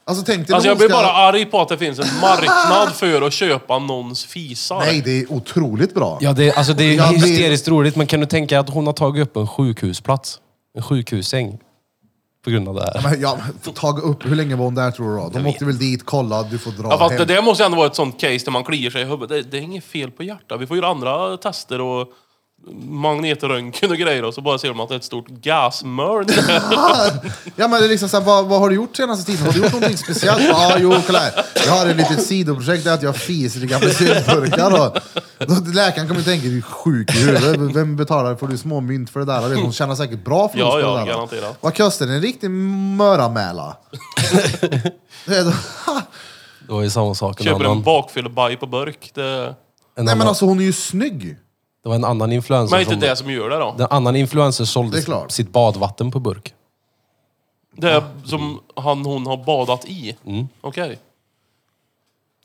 S1: Alltså tänk dig
S2: Alltså
S1: när
S2: jag
S1: hon
S2: blir
S1: ska...
S2: bara arg på att det finns en marknad för att köpa någons fisar.
S1: Nej, det är otroligt bra.
S3: Ja, det, alltså det är
S1: Ja, det-
S3: hysteriskt roligt, men kan du tänka att hon har tagit upp en sjukhusplats? En sjukhussäng? På grund av det här.
S1: Men ja, men tag upp, hur länge var hon där tror du då? De åkte väl dit, kolla, du får dra
S2: Ja, fast
S1: hem.
S2: det där måste ändå vara ett sånt case där man kliar sig i huvudet. Det, det är inget fel på hjärtat. Vi får göra andra tester och magnetröntgen och grejer och så bara ser man att det är ett stort gasmörn.
S1: Ja men det är liksom såhär, vad, vad har du gjort senaste tiden? Har du gjort någonting speciellt? Ja, jo kolla här. Jag har ett litet sidoprojekt där att jag fiser i gamla sylburkar och då- läkaren kommer tänka, du är sjuk i huvudet. Vem betalar? Får du små mynt för det där? Och det- Hon tjänar säkert bra för
S2: Ja,
S1: oss på
S2: ja,
S1: det där.
S2: garanterat.
S1: Vad kostar det? En riktig möramäla. Det är då-
S3: Det var ju samma sak. En
S2: Köper en
S3: annan,
S2: bakfyllebaj på burk. Det...
S3: en
S1: Nej
S3: annan,
S1: men alltså hon är ju snygg.
S3: det var en annan influencer
S2: Men inte
S3: som...
S2: det som gör det då.
S3: Den annan influencer
S1: Det
S3: sålde
S1: är klart.
S3: sitt badvatten på burk.
S2: Det är som han hon har badat i. Okej.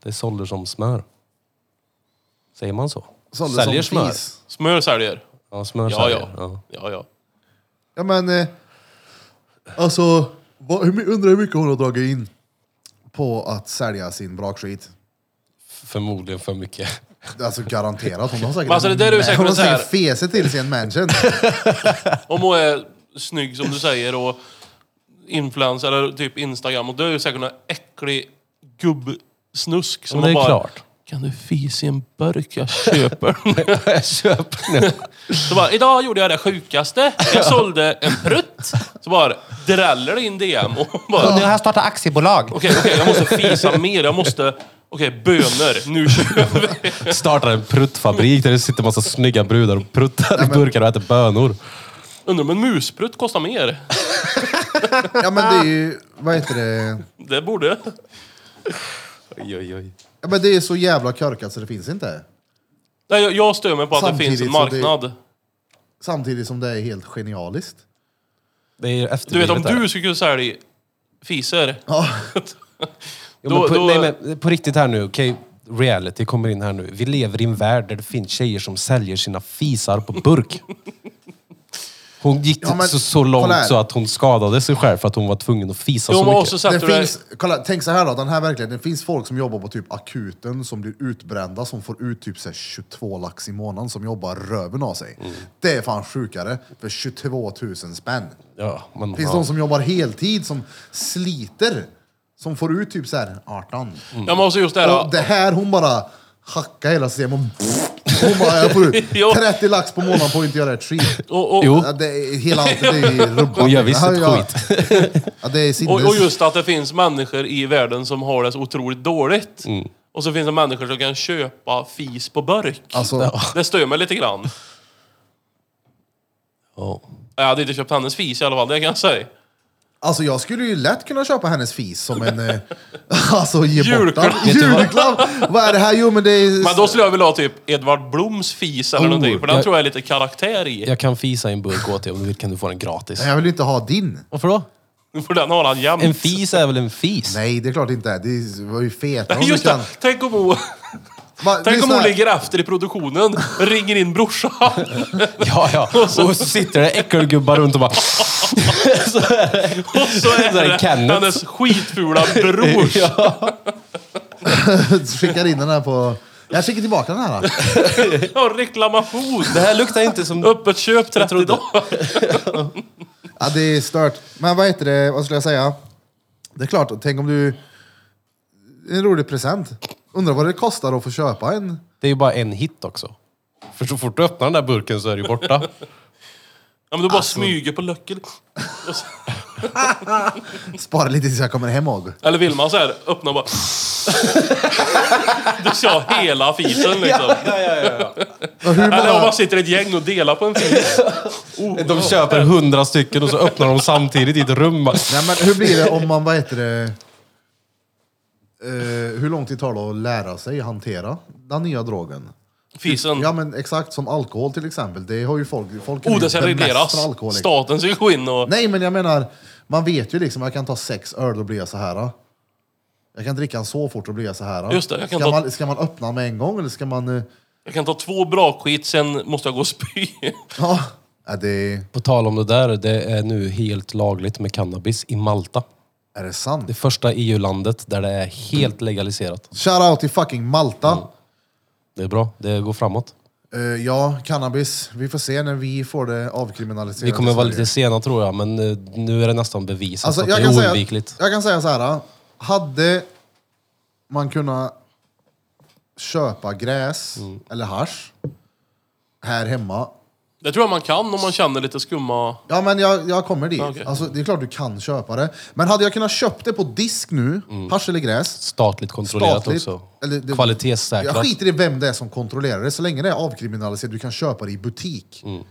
S3: Det sålde som smör. Säger man så?
S1: Sålde
S3: säljer
S1: som
S3: smör?
S1: fis.
S2: Smör säljer.
S3: Ja, smör
S2: Ja,
S3: säljer.
S2: ja. ja, ja.
S1: Ja men, eh, alltså, vad, hur, my- undrar hur mycket hon har dragit in på att sälja sin brakskit.
S3: Förmodligen för mycket.
S1: Alltså garanterat, hon har säkert,
S2: Men alltså, det där är ju
S1: Nej,
S2: säkert
S1: hon har
S2: så här-
S1: säkert feset till sig i en mansion.
S2: Om hon är snygg som du säger och influencer eller typ Instagram och då är ju säkert någon äcklig gubbsnusk som
S3: Men det är
S2: man bara...
S3: klart.
S2: Kan du fisa i en burk? Jag köper den.
S3: Jag köper nu.
S2: Så bara, idag gjorde jag det sjukaste. Jag sålde en prutt. Så bara dräller det in DM och bara...
S5: Nu har jag startat aktiebolag.
S2: Okej, okej, jag måste fisa mer. Jag måste... Okej, bönor. Nu kör vi.
S3: Startar en pruttfabrik där det sitter massa snygga brudar och pruttar i burkar och äter bönor.
S2: Undrar om en musprutt kostar mer?
S1: Ja men det är ju, vad heter det?
S2: Det borde...
S3: Oj, oj, oj.
S1: Ja, men det är så jävla körkat så det finns inte.
S2: Nej, jag, jag stör mig på att det finns en
S1: Samtidigt så det-
S2: marknad.
S1: Samtidigt som det är helt genialiskt.
S3: Det är ju
S2: Du vet, om
S3: efterblivet där.
S2: du skulle kunna sälja fiser.
S3: Jo, men
S2: Då-
S3: på,
S2: då-
S3: nej, men på riktigt här nu, okej? Reality kommer in här nu. Vi lever i en värld där det finns tjejer som säljer sina fisar på burk. Hon gick
S1: Ja, men
S3: så, så
S1: kolla här.
S3: långt så att hon skadade sig själv för att hon var tvungen att fisa
S2: Jo,
S3: så
S2: men
S3: mycket.
S2: också satt
S1: Alltså, Det
S2: du där...
S1: finns, kolla, tänk så här då, den här verkligheten. Det finns folk som jobbar på typ akuten som blir utbrända som får ut typ så här 22 lax i månaden som jobbar röven av sig.
S2: Mm.
S1: Det är fan sjukare för 22 000 spänn.
S3: Ja, men,
S1: Det finns de som jobbar heltid som sliter som får ut typ så här 18.
S2: Ja, men också just det här...
S1: Och det här hon bara hackar hela systemet. Hon bara, jag får ut
S2: Jo.
S1: 30 lax på månaden på att inte göra ett skit.
S2: Och, och,
S3: Jo.
S1: Ja, det är, hela allt det är ju rubbat.
S3: Hon gör visst
S1: Ja,
S3: ett
S1: ja.
S3: skit.
S1: Ja, det är
S2: Och,
S1: sinnes.
S2: och just att det finns människor i världen som har det så otroligt dåligt.
S3: Mm.
S2: Och så finns det människor som kan köpa fis på burk.
S1: Alltså,
S2: Det stör mig lite grann.
S3: Ja.
S2: Jag hade inte köpt hennes fis i alla fall, det kan jag säga.
S1: alltså jag skulle ju lätt kunna köpa hennes fis som en... eh, Alltså ge bort
S2: Julklapp.
S1: den. Julklapp! Vad är det här? Jo men det är...
S2: Men då skulle jag vilja ha typ Edvard Bloms fis eller
S3: Oh,
S2: någonting, för den
S3: jag-
S2: tror jag är lite karaktär i.
S3: Jag kan fisa i en burk åt dig om du vill kan du få den gratis.
S1: Nej, jag vill inte ha din.
S3: Varför då?
S2: För den har han jämt.
S3: En fis är väl en fis?
S1: Nej, det är klart inte. Det var ju fet. Om du
S2: Just
S1: kan-
S2: det! Tänk om hon,
S1: Va,
S2: tänk om
S1: lyssna
S2: hon
S1: här.
S2: ligger efter i produktionen, ringer in brorsan.
S3: Ja, ja. Och så sitter det äckelgubbar runt och bara... så är det.
S2: Och så är
S3: Så är det
S2: det
S3: Kenneth.
S2: hennes skitfula bror.
S1: Skickar in den här på... Jag skickar tillbaka den här. då.
S2: Ja, reklamation!
S3: Det här luktar inte som...
S2: Öppet köp 30 dagar.
S1: Ja, det är stört. Men vad heter det? Vad skulle jag säga? Det är klart, tänk om du... En rolig present. Undrar vad det kostar att få köpa en...
S3: Det är ju bara en hit också. För så fort du öppnar den där burken så är det ju borta.
S2: Ja, men du bara smyger på löcken. Och så-
S1: Spara lite tills jag kommer hem ihåg.
S2: Eller vill man så här öppna och bara... Du kör hela fisen liksom.
S1: Och Hur
S2: Eller om
S1: många...
S2: man sitter i ett gäng och delar på en fis.
S3: De köper hundra stycken och så öppnar de samtidigt i ett rum. bara.
S1: Nej, men hur blir det om man, vad heter det... Eh, hur lång tid tar det att lära sig hantera den nya drogen?
S2: Fisen.
S1: Ja men exakt som alkohol till exempel. Det har ju folk... folk kan
S2: Oh,
S1: ju
S2: det ska
S1: bemästra
S2: regleras.
S1: alkohol, liksom.
S2: Staten ska gå in och...
S1: Nej men jag menar, man vet ju liksom, jag kan ta sex öl och bli så här. då. Jag kan dricka en så fort och bli så här. då.
S2: Just det, jag kan
S1: ska,
S2: ta-
S1: man, ska man öppna med en gång eller ska man... eh,
S2: Jag kan ta två bra skit, sen måste jag gå och spy.
S1: Ja, är det,
S3: På tal om det där, det är nu helt lagligt med cannabis i Malta.
S1: är det sant?
S3: Det första EU-landet där det är helt legaliserat.
S1: Shoutout till fucking Malta.
S3: Det är bra, det går framåt.
S1: Eh, ja, cannabis. Vi får se när vi får det avkriminaliserat
S3: Vi kommer
S1: i
S3: vara
S1: Sverige.
S3: lite sena tror jag, men eh, nu är det nästan bevisat
S1: Alltså,
S3: att
S1: jag,
S3: det är
S1: kan säga,
S3: oundvikligt.
S1: jag kan säga så här. ah. Hade man kunnat köpa gräs
S3: Mm.
S1: eller hasch här hemma.
S2: Det tror jag man kan om man känner lite skumma...
S1: Ja men jag, jag kommer
S3: Ah,
S1: dit.
S2: Okej.
S1: Alltså, det är klart du kan köpa det. Men hade jag kunnat köpt det på disk nu, hasch eller gräs.
S3: Statligt Mm. kontrollerat
S1: Statligt,
S3: också.
S1: eller det-
S3: Kvalitetssäkrat.
S1: Jag skiter i vem det är som kontrollerar det, så länge det är avkriminaliserat, du kan köpa det i butik.
S3: Mm.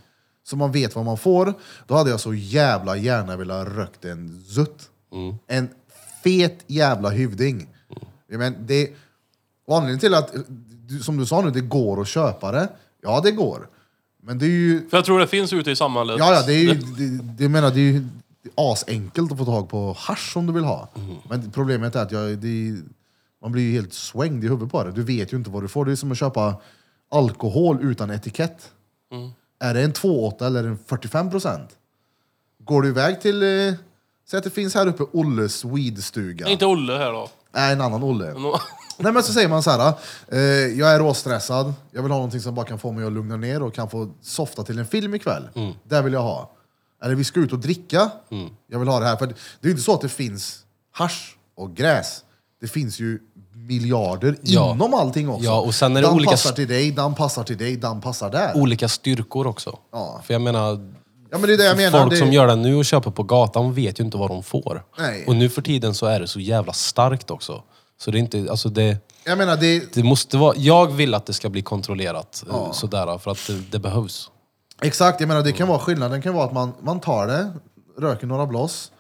S1: Så man vet vad man får. Då hade jag så jävla gärna velat ha rökt en zutt.
S3: Mm.
S1: En fet jävla hyvding. Jag men, det, och anledningen till att, du- som du sa nu, det går att köpa det. Ja, det går. Men det är ju...
S2: För jag tror det finns ute i samhället.
S1: Ja, ja, det är ju... Det, det, jag menar, det är ju asenkelt att få tag på hasch om du vill ha. Men problemet är att jag, det, man blir ju helt svängd i huvudet på det. Du vet ju inte vad du får. Det är som att köpa alkohol utan etikett. Är det en 2,8 eller en 45 procent? Går du iväg till, eh, säg att det finns här uppe Olles weedstuga.
S2: Nej, inte Olle här då.
S1: Nej, en annan Olle.
S2: Nå-
S1: Nej men så säger man så här. Eh, jag är råstressad. Jag vill ha någonting som bara kan få mig att lugna ner och kan få softa till en film ikväll.
S3: Mm.
S1: Det vill jag ha. Eller vi ska ut och dricka. Jag vill ha det här. För det är ju inte så att det finns hasch och gräs. Det finns ju miljarder
S3: Ja.
S1: inom allting också.
S3: Ja, och sen är det
S1: den
S3: olika
S1: passar
S3: st-
S1: till dig, den passar till dig, den passar där.
S3: Olika styrkor också.
S1: Ja.
S3: För jag menar,
S1: ja men det är det jag menar.
S3: folk
S1: det...
S3: som gör det nu och köper på gatan vet ju inte vad de får.
S1: Nej.
S3: Och nu för tiden så är det så jävla starkt också. Så det är inte, alltså det,
S1: Jag menar, det...
S3: det måste vara, jag vill att det ska bli kontrollerat eh, sådär för att det, det behövs.
S1: Exakt, jag menar det kan vara skillnaden kan vara att man, man tar det, röker några bloss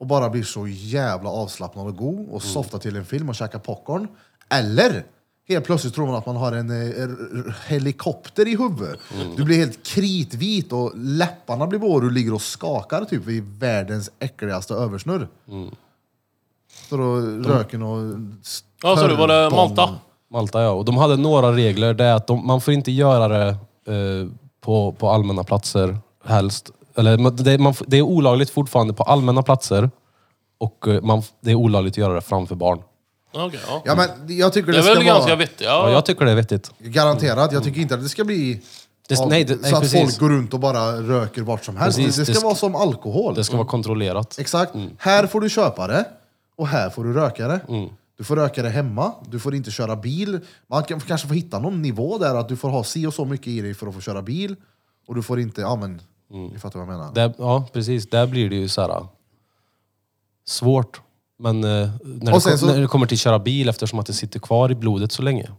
S1: och bara blir så jävla avslappnad och god och
S2: Mm.
S1: softar till en film och käkar popcorn. Eller helt plötsligt tror man att man har en eh, r- r- helikopter i huvudet.
S2: Mm.
S1: Du blir helt kritvit och läpparna blir blå och du ligger och skakar typ vid världens äckligaste översnurr.
S2: Mm.
S1: Står och röker och...
S2: Ja, så det var det Malta.
S3: Malta ja, och de hade några regler. Det är att de, man får inte göra det eh, på, på allmänna platser helst. Eller, men det, man, f- det är olagligt fortfarande på allmänna platser och eh, man, f- det är olagligt att göra det framför barn.
S2: Ja, Okej, ja.
S1: Ja, men jag tycker
S2: Det
S1: det,
S2: är
S1: ska
S2: väl
S1: vara...
S2: ganska vettigt.
S3: Ja,
S2: Ja,
S3: jag tycker det är vettigt.
S1: Garanterat. Jag tycker inte att det ska bli
S3: Mm. Det-
S1: av-
S3: nej, det- nej,
S1: så att
S3: precis.
S1: folk går runt och bara röker vart som helst.
S3: Precis,
S1: det ska
S3: det sk-
S1: vara som alkohol.
S3: Det Mm. ska vara kontrollerat.
S1: Exakt. Här får du köpa det och här får du röka det.
S3: Mm.
S1: Du får röka det hemma, du får inte köra bil. Man kan, kanske får hitta någon nivå där att du får ha si och så mycket i dig för att få köra bil. Och du får inte, ja men,
S3: Mm.
S1: ni fattar vad jag menar.
S3: Där, ja, precis. Där blir det ju så här eh, svårt. Men eh, när, det,
S1: Och sen så-
S3: när det kommer till köra bil, eftersom att det sitter kvar i blodet så länge.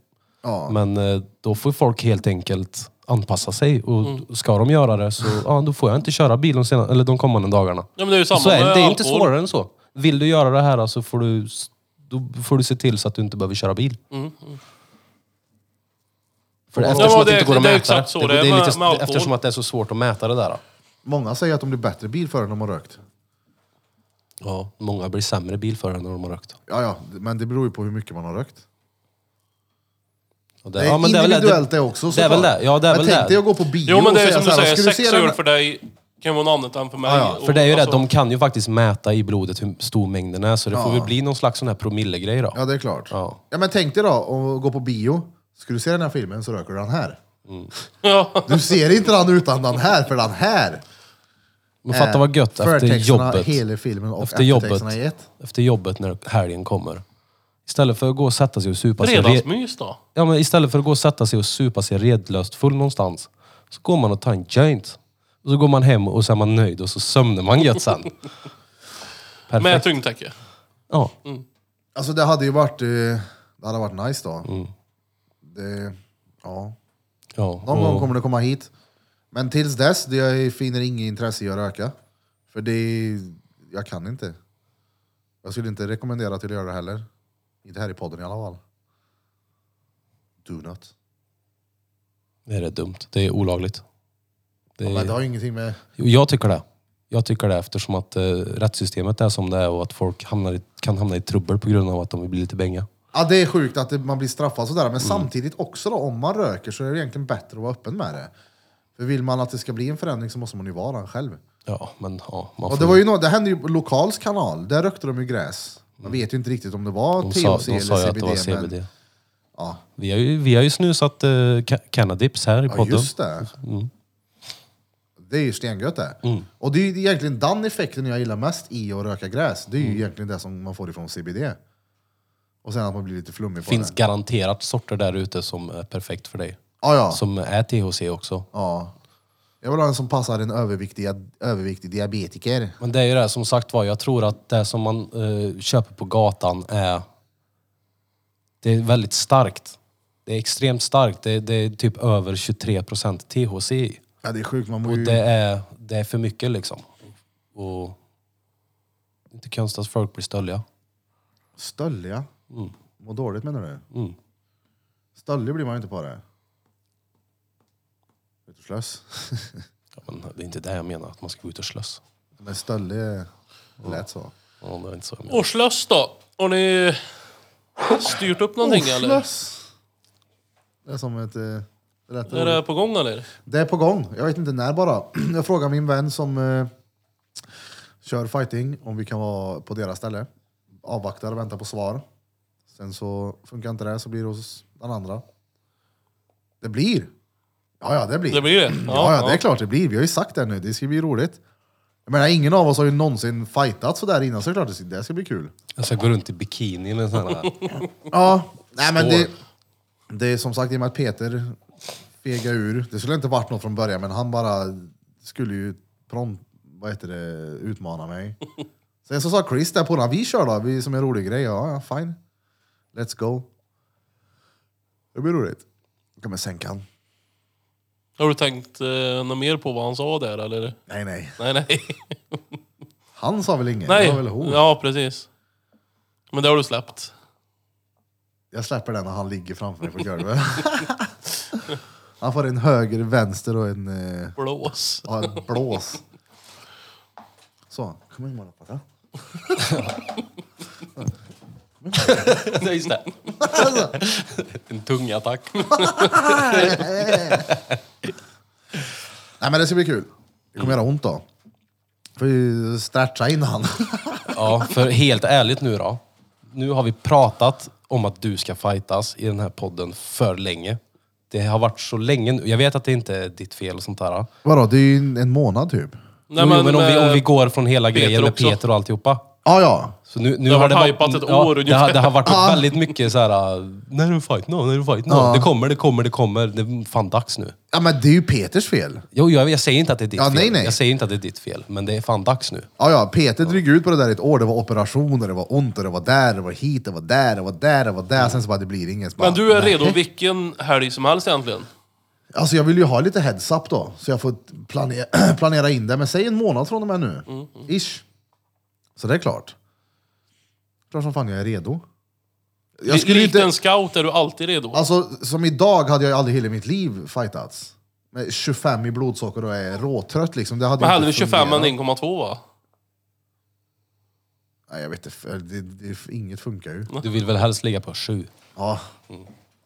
S1: Ja.
S3: Men eh, då får folk helt enkelt anpassa sig. Och
S2: Mm.
S3: ska de göra det så ja, då får jag inte köra bil de, sena, eller de kommande dagarna.
S2: Ja, men det är ju samma
S3: så är,
S2: med
S3: det- det är inte
S2: alkohol.
S3: svårare än så. Vill du göra det här så får du, s- då får du se till så att du inte behöver köra bil. För
S1: Ja,
S3: eftersom
S2: Mm, men
S3: att det
S2: det-
S3: inte går att
S2: det är
S3: mäta
S2: exakt så det är
S3: det
S2: med-
S3: lite,
S2: med alkohol.
S3: eftersom att det är så svårt att mäta det där.
S1: Många säger att de blir bättre bilförare när de har rökt.
S3: Ja, många blir sämre bilförare när de har rökt.
S1: Ja, ja, men det beror ju på hur mycket man har rökt.
S3: Och
S1: Det är individuellt det, också
S3: Det är väl
S1: såklart.
S3: det. Ja, det är
S1: men
S3: väl
S1: tänk dig
S3: det.
S1: att gå på bio
S2: Jo, men det är
S1: och säga
S2: som du
S1: så här,
S2: säger,
S1: "Ska du
S2: sex
S1: se den
S2: öl
S1: här?"
S2: för dig kan vara något annat än för mig.
S1: Ja, ja.
S2: Och-
S3: För det är ju det,
S2: alltså,
S3: de kan ju faktiskt mäta i blodet hur stor mängden är, så det får väl bli någon slags sån här promillegrej då.
S1: Ja, det är klart. Ja.
S3: Ja.
S1: men tänk dig då att gå på bio, ska du se den här filmen så röker du den här.
S2: Ja,
S1: Du ser inte den utan den här, för den här.
S3: Men
S1: Eh,
S3: fatta vad gött efter
S1: Förtexterna,
S3: jobbet.
S1: hela filmen och
S3: Efter jobbet.
S1: eftertexterna i ett.
S3: Efter jobbet när helgen kommer. Istället för att gå och sätta sig och supa sig... re-
S2: fredagsmys då.
S3: Ja, men istället för att gå och sätta sig och supa sig redlöst full någonstans, så går man och tar en joint. Och så går man hem och så är man nöjd och så sömnar man gött sen. Perfekt.
S2: Med tyngdtäcke.
S3: Ja.
S1: Alltså det hade ju varit, eh, det hade varit nice då.
S3: Mm.
S1: Det, ja.
S3: ja.
S1: Någon gång
S3: och-
S1: kommer det komma hit. Men tills dess, det jag finner inget intresse i att röka. För det, jag kan inte. Jag skulle inte rekommendera till att göra det heller. Inte här i podden i alla fall. Do not.
S3: Det är rätt dumt. Det är olagligt. Det
S1: Men det
S3: är...
S1: har ju ingenting med...
S3: Jo, Jag tycker det. Jag tycker det eftersom att eh, rättssystemet är som det är och att folk hamnar i, kan hamna i trubbel på grund av att de vill bli lite bänga.
S1: Ja, det är sjukt att det, man blir straffad sådär, men samtidigt också då, om man röker så är det egentligen bättre att vara öppen med det. För vill man att det ska bli en förändring så måste man ju vara den själv.
S3: Ja, men ja. Man
S1: Och
S3: får,
S1: det, var ju något, det hände ju på Lokals kanal, där rökte de ju gräs. Man vet ju inte riktigt om det var
S3: Mm. de
S1: THC
S3: sa, de sa ju
S1: eller
S3: att det var
S1: CBD.
S3: CBD.
S1: Men, ja,
S3: Vi, har ju, vi har ju snusat eh, ca- cannadips här i
S1: ja,
S3: podden.
S1: just det.
S3: Mm.
S1: Det är ju stengött det. Och det är ju egentligen den effekten jag gillar mest i att röka gräs. Det är ju
S3: Mm.
S1: egentligen det som man får ifrån CBD. Och sen att man blir lite flummig på
S3: finns
S1: det.
S3: garanterat sorter där ute som är perfekt för dig.
S1: Ja, ja.
S3: Som är THC också.
S1: Ja. Jag vill ha en som passar en överviktig, överviktig diabetiker.
S3: Men det är ju det här, som sagt var, jag tror att det som man eh, köper på gatan är... Det är väldigt starkt. Det är extremt starkt. Det, det är typ över 23% THC i.
S1: Ja, det är sjukt. Man mår
S3: Och
S1: ju...
S3: det är, det är för mycket liksom. Och... det är Inte konstigt att folk blir stölliga.
S1: Stölliga. Mår dåligt menar du? Mm. Stöllig blir man ju inte på det. Vet du, Slös.
S3: Ja, men det är inte det jag menar, att man ska gå ut och slåss.
S1: Men stöllig är- lät så.
S3: Ja, det är inte så jag menar.
S2: Årslöss då? Har ni styrt upp någonting eller?
S1: Slös. Det är som ett... eh, Rätt
S2: Är det på gång eller?
S1: Det är på gång. Jag vet inte när bara. Jag frågar min vän som eh, kör fighting om vi kan vara på deras ställe. Avvaktar och väntar på svar. Sen så funkar inte det så blir det hos den andra. Det blir! Ja, ja, det blir.
S2: Det blir det?
S1: Ja, ja, det är klart det blir. Vi har ju sagt det nu. Det ska bli roligt. Jag menar, ingen av oss har ju någonsin fightat sådär innan, så det är klart det ska, det ska bli kul.
S3: Jag ska gå runt i bikini med sådana här.
S1: Ja, nej men
S3: Skål.
S1: det, det är som sagt i och med att Peter fegade ur. Det skulle inte varit något från början, men han bara skulle ju prompt, vad heter det, utmana mig. Sen så sa Chris där på den, vi kör då, vi som en rolig grej. Ja, ja, fine. Let's go. Det blir roligt. Jag kommer sänka han.
S2: Har du tänkt eh, något mer på vad han sa där eller?
S1: Nej, nej.
S2: Nej, nej.
S1: Han sa väl inget?
S2: nej.
S1: Det var väl hon.
S2: Ja, precis. Men det har du släppt.
S1: Jag släpper den när han ligger framför mig på golvet. han får en höger, vänster och en... Eh,
S2: Blås.
S1: Ja, en blås. Så, kom in bara pappa.
S3: Nej, just det. En tungattack.
S1: Nej men det ska bli kul. Det kommer göra ont då. Får ju stretcha in han.
S3: Ja, för helt ärligt nu då. Nu har vi pratat om att du ska fightas i den här podden för länge. Det har varit så länge nu. Jag vet att det inte är ditt fel och sånt där.
S1: Vadå, det är ju en- en månad typ.
S2: Nej,
S3: jo, men, men om, vi, om vi
S2: eh,
S3: går från hela
S2: Peter
S3: grejen med
S2: också.
S3: Peter och alltihopa.
S1: Ja, ja.
S3: Så nu, nu
S2: Det har varit hypat ett år
S3: det, har,
S2: ungefär.
S3: det har varit
S1: Ja.
S3: väldigt mycket så här. äh, När är det fight nu? När är det fight nu?
S1: Ja.
S3: Det kommer, det kommer, det kommer. Det är fan dags nu.
S1: Ja men det är ju Peters fel.
S3: Jo, jag, jag säger inte att det är ditt
S1: Ja,
S3: fel.
S1: nej, nej.
S3: Jag säger inte att det är ditt fel, men det är fan dags nu.
S1: Ja, ja, Peter drog ut på det där i ett år. Det var operationer, det var ont, och det var där, det var hit, det var där, det var där, det var där. Sen så bara, det blir inget. Så Bara,
S2: Men du är
S1: nej.
S2: redo vilken helg som helst egentligen?
S1: Alltså jag vill ju ha lite heads up då, så jag får planera, planera in det. Men säg en månad från och med nu.
S2: Mm,
S1: Ish. Så det är klart. Klart som fan jag är redo. Jag skulle ju
S2: Likt
S1: inte...
S2: en scout är du alltid redo.
S1: Alltså som idag hade jag ju aldrig i hela mitt liv fightats. Med 25 i blodsocker och är råtrött liksom. Det hade
S2: Men
S1: ju inte
S2: hellre 25 än
S1: fungerat.
S2: 1,2 va?
S1: Nej jag vet inte, för det, det, inget funkar ju.
S3: Du vill väl helst ligga på sju?
S1: Ja.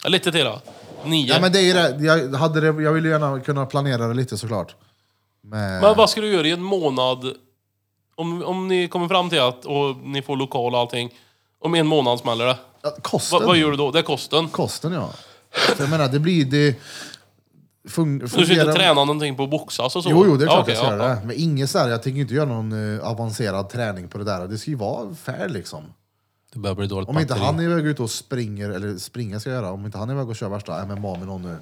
S2: Ja, Lite till då. 9.
S1: ja
S2: men...
S1: men det är ju det, jag, hade det, jag ville gärna kunna planera det lite såklart. Men,
S2: vad ska du göra i en månad? Om, om ni kommer fram till att och ni får lokal och allting. Om en månad smäller det.
S1: Ja, kosten.
S2: Va, vad gör du då? Det är kosten.
S1: Kosten ja. För jag menar, det blir... Det fun-
S2: Du ska inte
S1: fungerar-
S2: träna någonting på att boxas och så?
S1: Jo, jo, det är klart
S2: okej,
S1: jag ska
S2: ja,
S1: göra det. Men inget så här, jag tänker inte göra någon eh, avancerad träning på det där. Det ska ju vara fair liksom.
S3: Du börjar bli dåligt
S1: Om inte
S3: batteri.
S1: han är iväg ute och springer, eller springa ska jag göra, om inte han är iväg och kör värsta MMA med någon nu.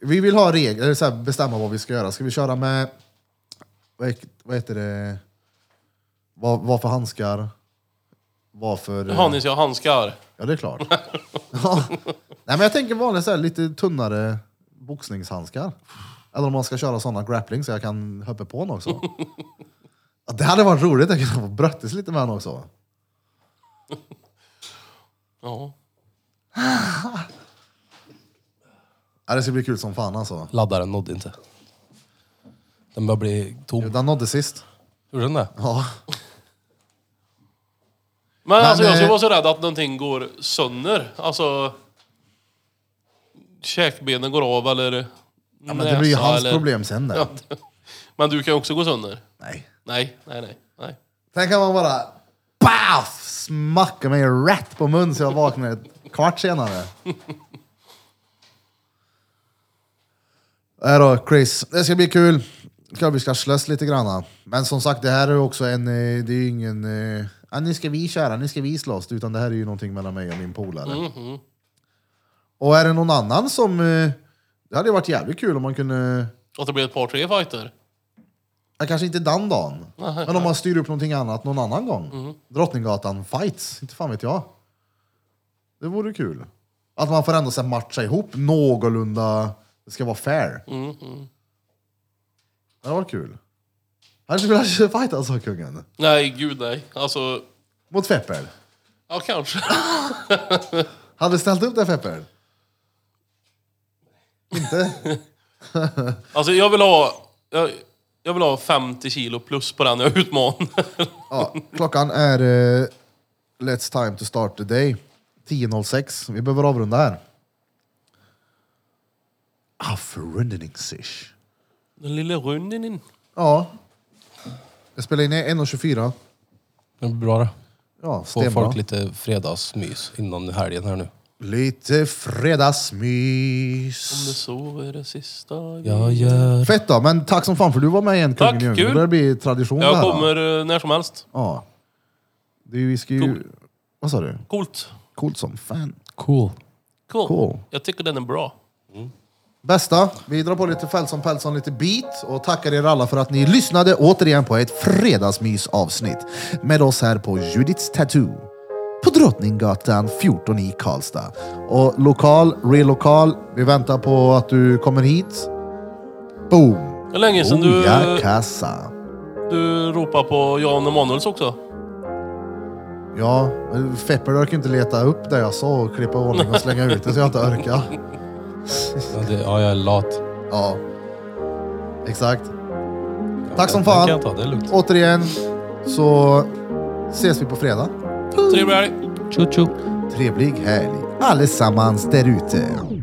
S1: Vi vill ha regler, eller så här, bestämma vad vi ska göra. Ska vi köra med, vad, he- vad heter det, vad, vad för handskar? Vad för... eh,
S2: ja. Hannes, jag har handskar.
S1: Ja, det är klart. ja. Nej, men jag tänker vanligt så här, lite tunnare boxningshandskar. Eller om man ska köra sådana grappling så jag kan hoppa på honom också. ja, det hade varit roligt att kunna få bröttis lite med honom också.
S2: Ja.
S1: Ja, det ska bli kul som fan alltså.
S3: Laddaren nådde inte. Den börjar bli
S1: Jo,
S3: tom.
S1: Den nådde sist.
S3: Gjorde den det?
S1: Ja.
S2: Men, alltså jag
S1: eh,
S2: skulle vara så rädd att någonting går sönder. Alltså... Käkbenen går av eller...
S1: Ja, men det blir ju
S2: näsa
S1: hans
S2: eller-
S1: problem sen där.
S2: Ja, det- men du kan ju också gå sönder.
S1: Nej.
S2: Nej, nej, nej. nej.
S1: Sen kan man bara paf, smacka mig rätt på mun så jag vaknar ett kvart senare. Här då Chris, det ska bli kul. Ska vi ska slåss lite granna. Men som sagt, det här är ju också en, eh, det är ju ingen, eh, ja, nu ska vi köra, nu ska vi slåss. Utan det här är ju någonting mellan mig och min polare. Och är det någon annan som, eh, det hade ju varit jävligt kul om man kunde
S2: Att det blir ett par tre fighter.
S1: Ja, kanske inte den dagen. Men om man styr upp någonting annat någon annan gång. Drottninggatan fights, inte fan vet jag. Det vore kul. Att man får ändå så här matcha ihop någorlunda. Det ska vara fair. Det var kul. Han skulle vilja fighta sa kungen.
S2: Nej, gud nej. Alltså,
S1: Mot Feppel.
S2: ja kanske.
S1: Hade du ställt upp det Feppel? Inte?
S2: Alltså jag vill ha... Jag, jag vill ha 50 kilo plus på den jag utmanar.
S1: Ja, klockan är eh, Let's time to start the day. 10.06. Vi behöver avrunda här. Ah, Afrundningsish.
S2: Den lilla runden in.
S1: Ja. Jag spelade in i 1.24.
S3: Det blir bra det.
S1: Ja,
S3: Få
S1: stenbra.
S3: folk lite fredagsmys innan helgen här nu.
S1: Lite fredagsmys.
S2: Om det så är det sista.
S3: Ja, ja.
S1: Fett då, men tack som fan för du var med igen Kungen
S2: Tack,
S1: i djungeln.
S2: kul.
S1: Det börjar bli tradition det här.
S2: Jag
S1: då.
S2: kommer eh, när som helst.
S1: Ja. Det är ju, vi ska ju...
S2: Cool.
S1: Vad sa du?
S2: Coolt.
S1: Coolt som fan.
S3: Cool.
S2: Cool.
S1: Cool.
S2: Jag tycker den är bra.
S1: Bästa, vi drar på lite Fältson Pältson, lite beat och tackar er alla för att ni lyssnade återigen på ett fredagsmysavsnitt med oss här på Judiths Tattoo på Drottninggatan 14 i Karlstad. Och lokal, relokal, vi väntar på att du kommer hit. Boom!
S2: Det är länge
S1: Oh,
S2: sedan du,
S1: Oja kassa.
S2: du ropar på Jan Emanuels också.
S1: Ja, men Fepper orkar inte leta upp det jag sa och klippa i ordning och slänga ut det så jag inte orkar.
S3: Ja, det, ja, jag är lat.
S1: Ja, exakt. Tack som
S3: Den kan
S1: fan.
S3: jag ta, det är lugnt.
S1: Återigen så ses vi på fredag.
S2: Trevlig helg.
S3: Tjo tjo.
S1: Trevlig helg allesammans där ute.